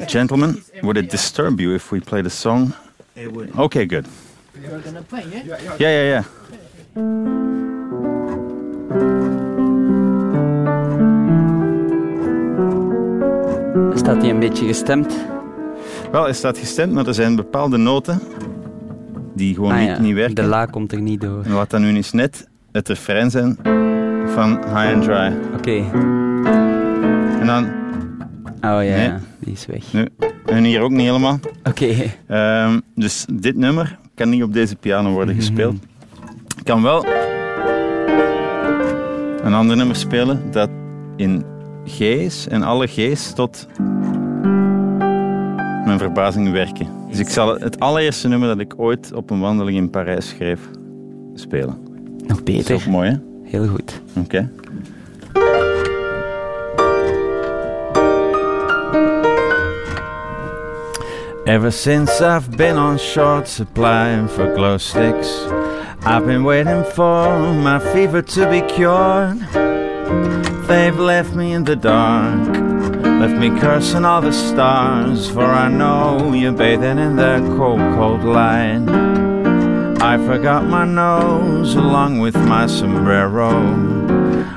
Speaker 7: Gentlemen, would it disturb you if we played a song?
Speaker 13: It wouldn't.
Speaker 7: Okay, good.
Speaker 13: You're gonna play, yeah?
Speaker 7: Yeah, yeah, yeah.
Speaker 6: Staat hij een beetje gestemd?
Speaker 7: Wel, er staat gestemd, maar er zijn bepaalde noten die gewoon
Speaker 6: Ah
Speaker 7: niet,
Speaker 6: ja,
Speaker 7: niet werken.
Speaker 6: De la komt er niet door.
Speaker 7: En wat dan nu is net het refrein zijn van High and Dry. Oké. En dan...
Speaker 6: Oh ja,
Speaker 7: Nee.
Speaker 6: die is weg.
Speaker 7: Nu, en hier ook niet helemaal.
Speaker 6: Oké.
Speaker 7: Ehm, dus dit nummer kan niet op deze piano worden gespeeld. Ik kan wel een ander nummer spelen dat in
Speaker 14: G's en alle G's tot mijn verbazing werken. Dus ik zal het allereerste nummer dat ik ooit op een wandeling in Parijs schreef spelen.
Speaker 6: Nog beter.
Speaker 14: Dat is ook mooi, hè?
Speaker 6: Heel goed.
Speaker 14: Oké.
Speaker 7: Ever since I've been on short supply for glow sticks, I've been waiting for my fever to be cured. They've left me in the dark, left me cursing all the stars, for I know you're bathing in their cold, cold light. I forgot my nose along with my sombrero.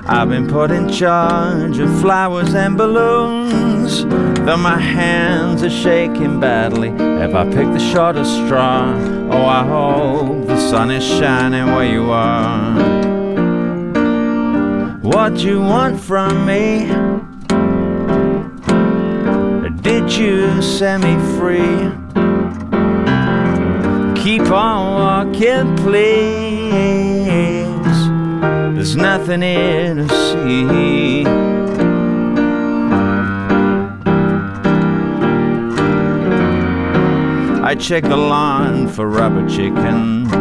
Speaker 7: I've been put in charge of flowers and balloons. Though my hands are shaking badly, if I pick the shortest straw, oh, I hope the sun is shining where you are. What you want from me? Did you set me free? Keep on walking, please. There's nothing here to see. I check the lawn for rubber chickens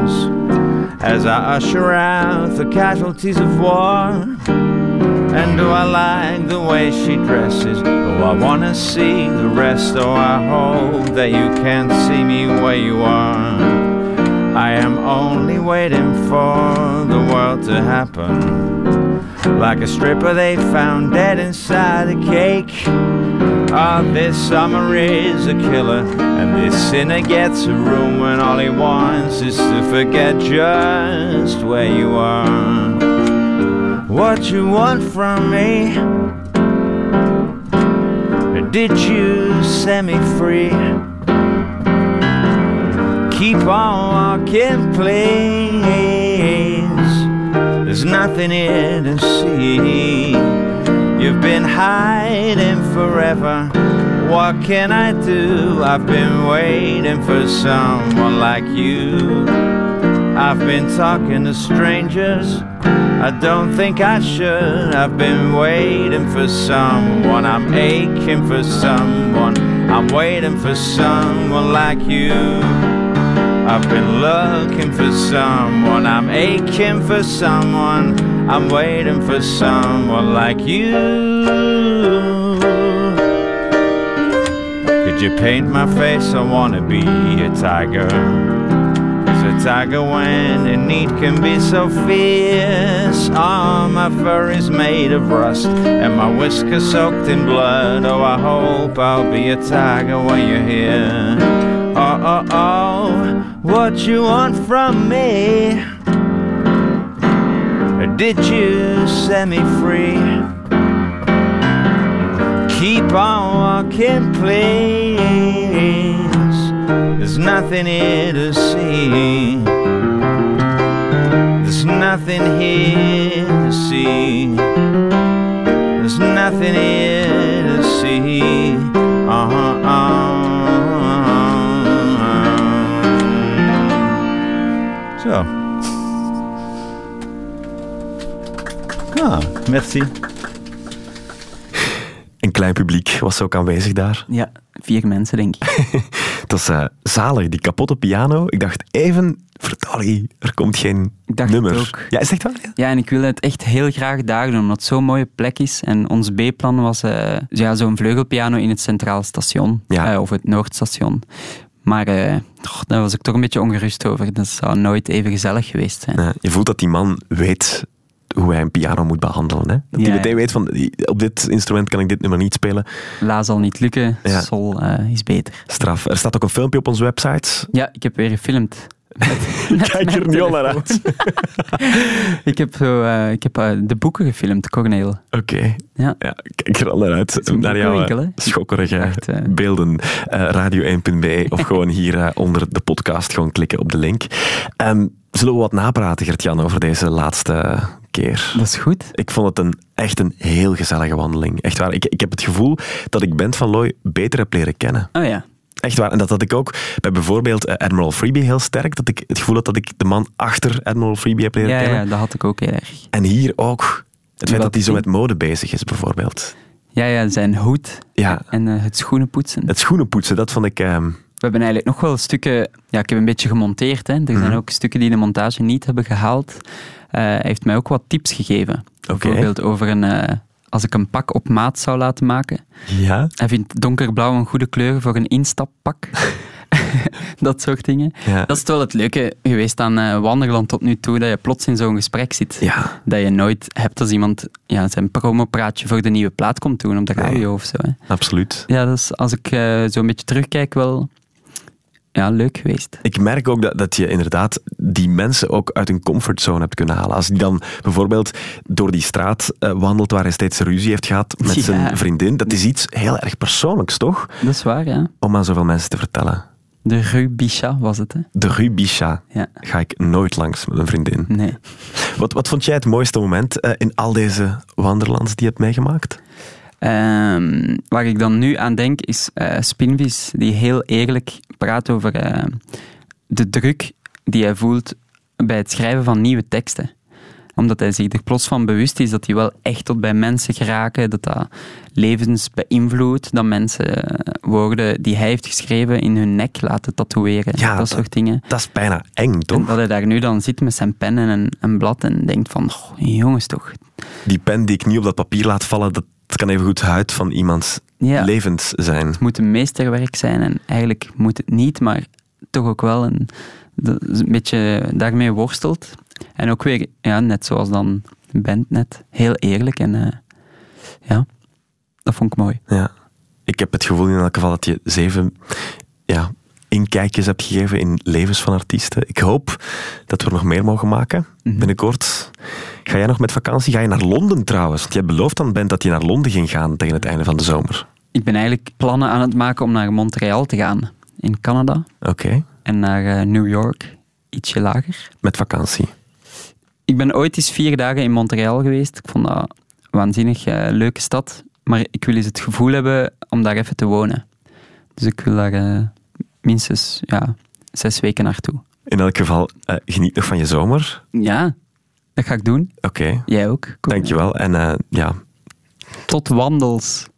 Speaker 7: as I usher out the casualties of war. And do I like the way she dresses? Oh, I wanna see the rest. Oh, I hope that you can see me where you are. I am only waiting for the world to happen. Like a stripper they found dead inside a cake. Ah, this summer is a killer, and this sinner gets a room when all he wants is to forget just where you are. What you want from me? Did you set me free? keep on walking, please. There's nothing here to see. You've been hiding forever. What can I do? I've been waiting for someone like you. I've been talking to strangers. I don't think I should. I've been waiting for someone. I'm aching for someone. I'm waiting for someone like you. I've been looking for someone, I'm aching for someone, I'm waiting for someone like you. Could you paint my face? I wanna be a tiger. Cause a tiger when in need can be so fierce. Oh, my fur is made of rust, and my whiskers soaked in blood. Oh, I hope I'll be a tiger when you're here. Oh, oh, oh, what you want from me? Did you set me free? Keep on walking, please. There's nothing here to see. There's nothing here to see. There's nothing here to see. Uh huh. Zo. Ah, merci.
Speaker 5: Een klein publiek was ook aanwezig daar.
Speaker 6: Ja, vier mensen denk ik.
Speaker 5: Dat is eh, zalig, die kapotte piano. Ik dacht even, vertalie, er komt geen
Speaker 6: Ik dacht
Speaker 5: nummer.
Speaker 6: het ook.
Speaker 5: Ja, is het echt waar?
Speaker 6: Ja, en ik wil het echt heel graag daar doen, omdat het zo'n mooie plek is. En ons B-plan was eh, ja, zo'n vleugelpiano in het Centraal Station, Eh, of het Noordstation. Maar eh, oh, daar was ik toch een beetje ongerust over. Dat zou nooit even gezellig geweest zijn.
Speaker 5: Ja, je voelt dat die man weet hoe hij een piano moet behandelen. Hè? Dat
Speaker 6: Ja,
Speaker 5: hij
Speaker 6: ja.
Speaker 5: meteen weet van, op dit instrument kan ik dit nummer niet spelen.
Speaker 6: La zal niet lukken,
Speaker 5: Ja.
Speaker 6: Sol eh, is beter.
Speaker 5: Straf. Er staat ook een filmpje op onze website.
Speaker 6: Ja, ik heb weer gefilmd.
Speaker 5: Kijk er nu al naar uit.
Speaker 6: Ik heb, zo, eh, ik heb eh, de boeken gefilmd, Corneel.
Speaker 5: Oké.
Speaker 6: Ja.
Speaker 5: kijk er al naar uit.
Speaker 6: een
Speaker 5: Naar jouw
Speaker 6: boekenwinkel,
Speaker 5: eh,
Speaker 6: hè?
Speaker 5: schokkerige beelden. Eh, Radio1.be of gewoon hier eh, onder de podcast gewoon klikken op de link. Ehm, zullen we wat napraten, Gert-Jan, over deze laatste keer?
Speaker 6: Dat is goed.
Speaker 5: Ik vond het een, echt een heel gezellige wandeling. Echt waar. Ik, ik heb het gevoel dat ik Bent van Looy beter heb leren kennen.
Speaker 6: Oh ja.
Speaker 5: Echt waar. En dat had ik ook bij bijvoorbeeld eh, Admiral Freebie heel sterk. Dat ik het gevoel had dat ik de man achter Admiral Freebie heb leren
Speaker 6: Ja,
Speaker 5: kennen.
Speaker 6: ja, dat had ik ook heel erg.
Speaker 5: En hier ook. Het feit
Speaker 6: Welke
Speaker 5: dat hij zo
Speaker 6: zin?
Speaker 5: met mode bezig is, bijvoorbeeld.
Speaker 6: Ja, ja, zijn hoed
Speaker 5: Ja.
Speaker 6: en eh, het schoenen poetsen.
Speaker 5: Het schoenen poetsen, dat vond ik... ehm,
Speaker 6: We hebben eigenlijk nog wel stukken... Ja, ik heb een beetje gemonteerd. Hè. Er zijn
Speaker 5: Mhm.
Speaker 6: ook stukken die de montage niet hebben gehaald. Eh, hij heeft mij ook wat tips gegeven. Bijvoorbeeld over een... eh, als ik een pak op maat zou laten maken.
Speaker 5: ja.
Speaker 6: Hij vindt donkerblauw een goede kleur voor een instappak. dat soort dingen.
Speaker 5: Ja.
Speaker 6: Dat is wel het leuke geweest aan eh, Wanderland tot nu toe, dat je plots in zo'n gesprek zit. Dat je nooit hebt als iemand ja, zijn promopraatje voor de nieuwe plaat komt doen op de radio of zo. Hè.
Speaker 5: Absoluut.
Speaker 6: Ja, dat is als ik eh, zo een beetje terugkijk wel ja, leuk geweest.
Speaker 5: Ik merk ook dat, dat je inderdaad die mensen ook uit hun comfortzone hebt kunnen halen. Als die dan bijvoorbeeld door die straat eh, wandelt waar hij steeds ruzie heeft gehad met
Speaker 6: Ja.
Speaker 5: zijn vriendin, dat is iets heel erg persoonlijks, toch?
Speaker 6: Dat is waar, ja.
Speaker 5: Om aan zoveel mensen te vertellen.
Speaker 6: De Rue Bichat was het, hè?
Speaker 5: De Rue Bichat
Speaker 6: Ja.
Speaker 5: ga ik nooit langs met mijn vriendin.
Speaker 6: Nee.
Speaker 5: Wat, wat vond jij het mooiste moment eh, in al deze wanderlands die je hebt meegemaakt?
Speaker 6: Ehm, waar ik dan nu aan denk is eh, Spinvis, die heel eerlijk praat over eh, de druk die hij voelt bij het schrijven van nieuwe teksten. Omdat hij zich er plots van bewust is dat die wel echt tot bij mensen geraken, dat dat levens beïnvloedt, dat mensen eh, woorden die hij heeft geschreven in hun nek laten tatoeëren. dat, soort dingen.
Speaker 5: Dat is bijna eng, toch?
Speaker 6: En dat hij daar nu dan zit met zijn pen en een, een blad en denkt van, "Goh, jongens toch,
Speaker 5: Die pen die ik niet op dat papier laat vallen, dat kan even goed huid van iemands
Speaker 6: Ja.
Speaker 5: levens zijn.
Speaker 6: Het moet een meesterwerk zijn en eigenlijk moet het niet, maar toch ook wel een, dat is een beetje daarmee worstelt. En ook weer, ja, net zoals dan Bent net, heel eerlijk en eh, ja, dat vond ik mooi.
Speaker 5: Ja. Ik heb het gevoel in elk geval dat je zeven ja, inkijkjes hebt gegeven in levens van artiesten. Ik hoop dat we er nog meer mogen maken binnenkort. Ga jij nog met vakantie? Ga je naar Londen trouwens? Want jij belooft dan, Bent, dat je naar Londen ging gaan tegen het einde van de zomer.
Speaker 6: Ik ben eigenlijk plannen aan het maken om naar Montreal te gaan in Canada
Speaker 5: Oké,
Speaker 6: en naar eh, New York, ietsje lager.
Speaker 5: met vakantie.
Speaker 6: Ik ben ooit eens vier dagen in Montreal geweest. Ik vond dat een waanzinnig eh, leuke stad. Maar ik wil eens het gevoel hebben om daar even te wonen. Dus ik wil daar eh, minstens ja, zes weken naartoe.
Speaker 5: In elk geval, eh, geniet nog van je zomer.
Speaker 6: Ja, dat ga ik doen.
Speaker 5: Oké,
Speaker 6: Jij ook. Kom.
Speaker 5: dankjewel. En eh, ja,
Speaker 6: Tot wandels.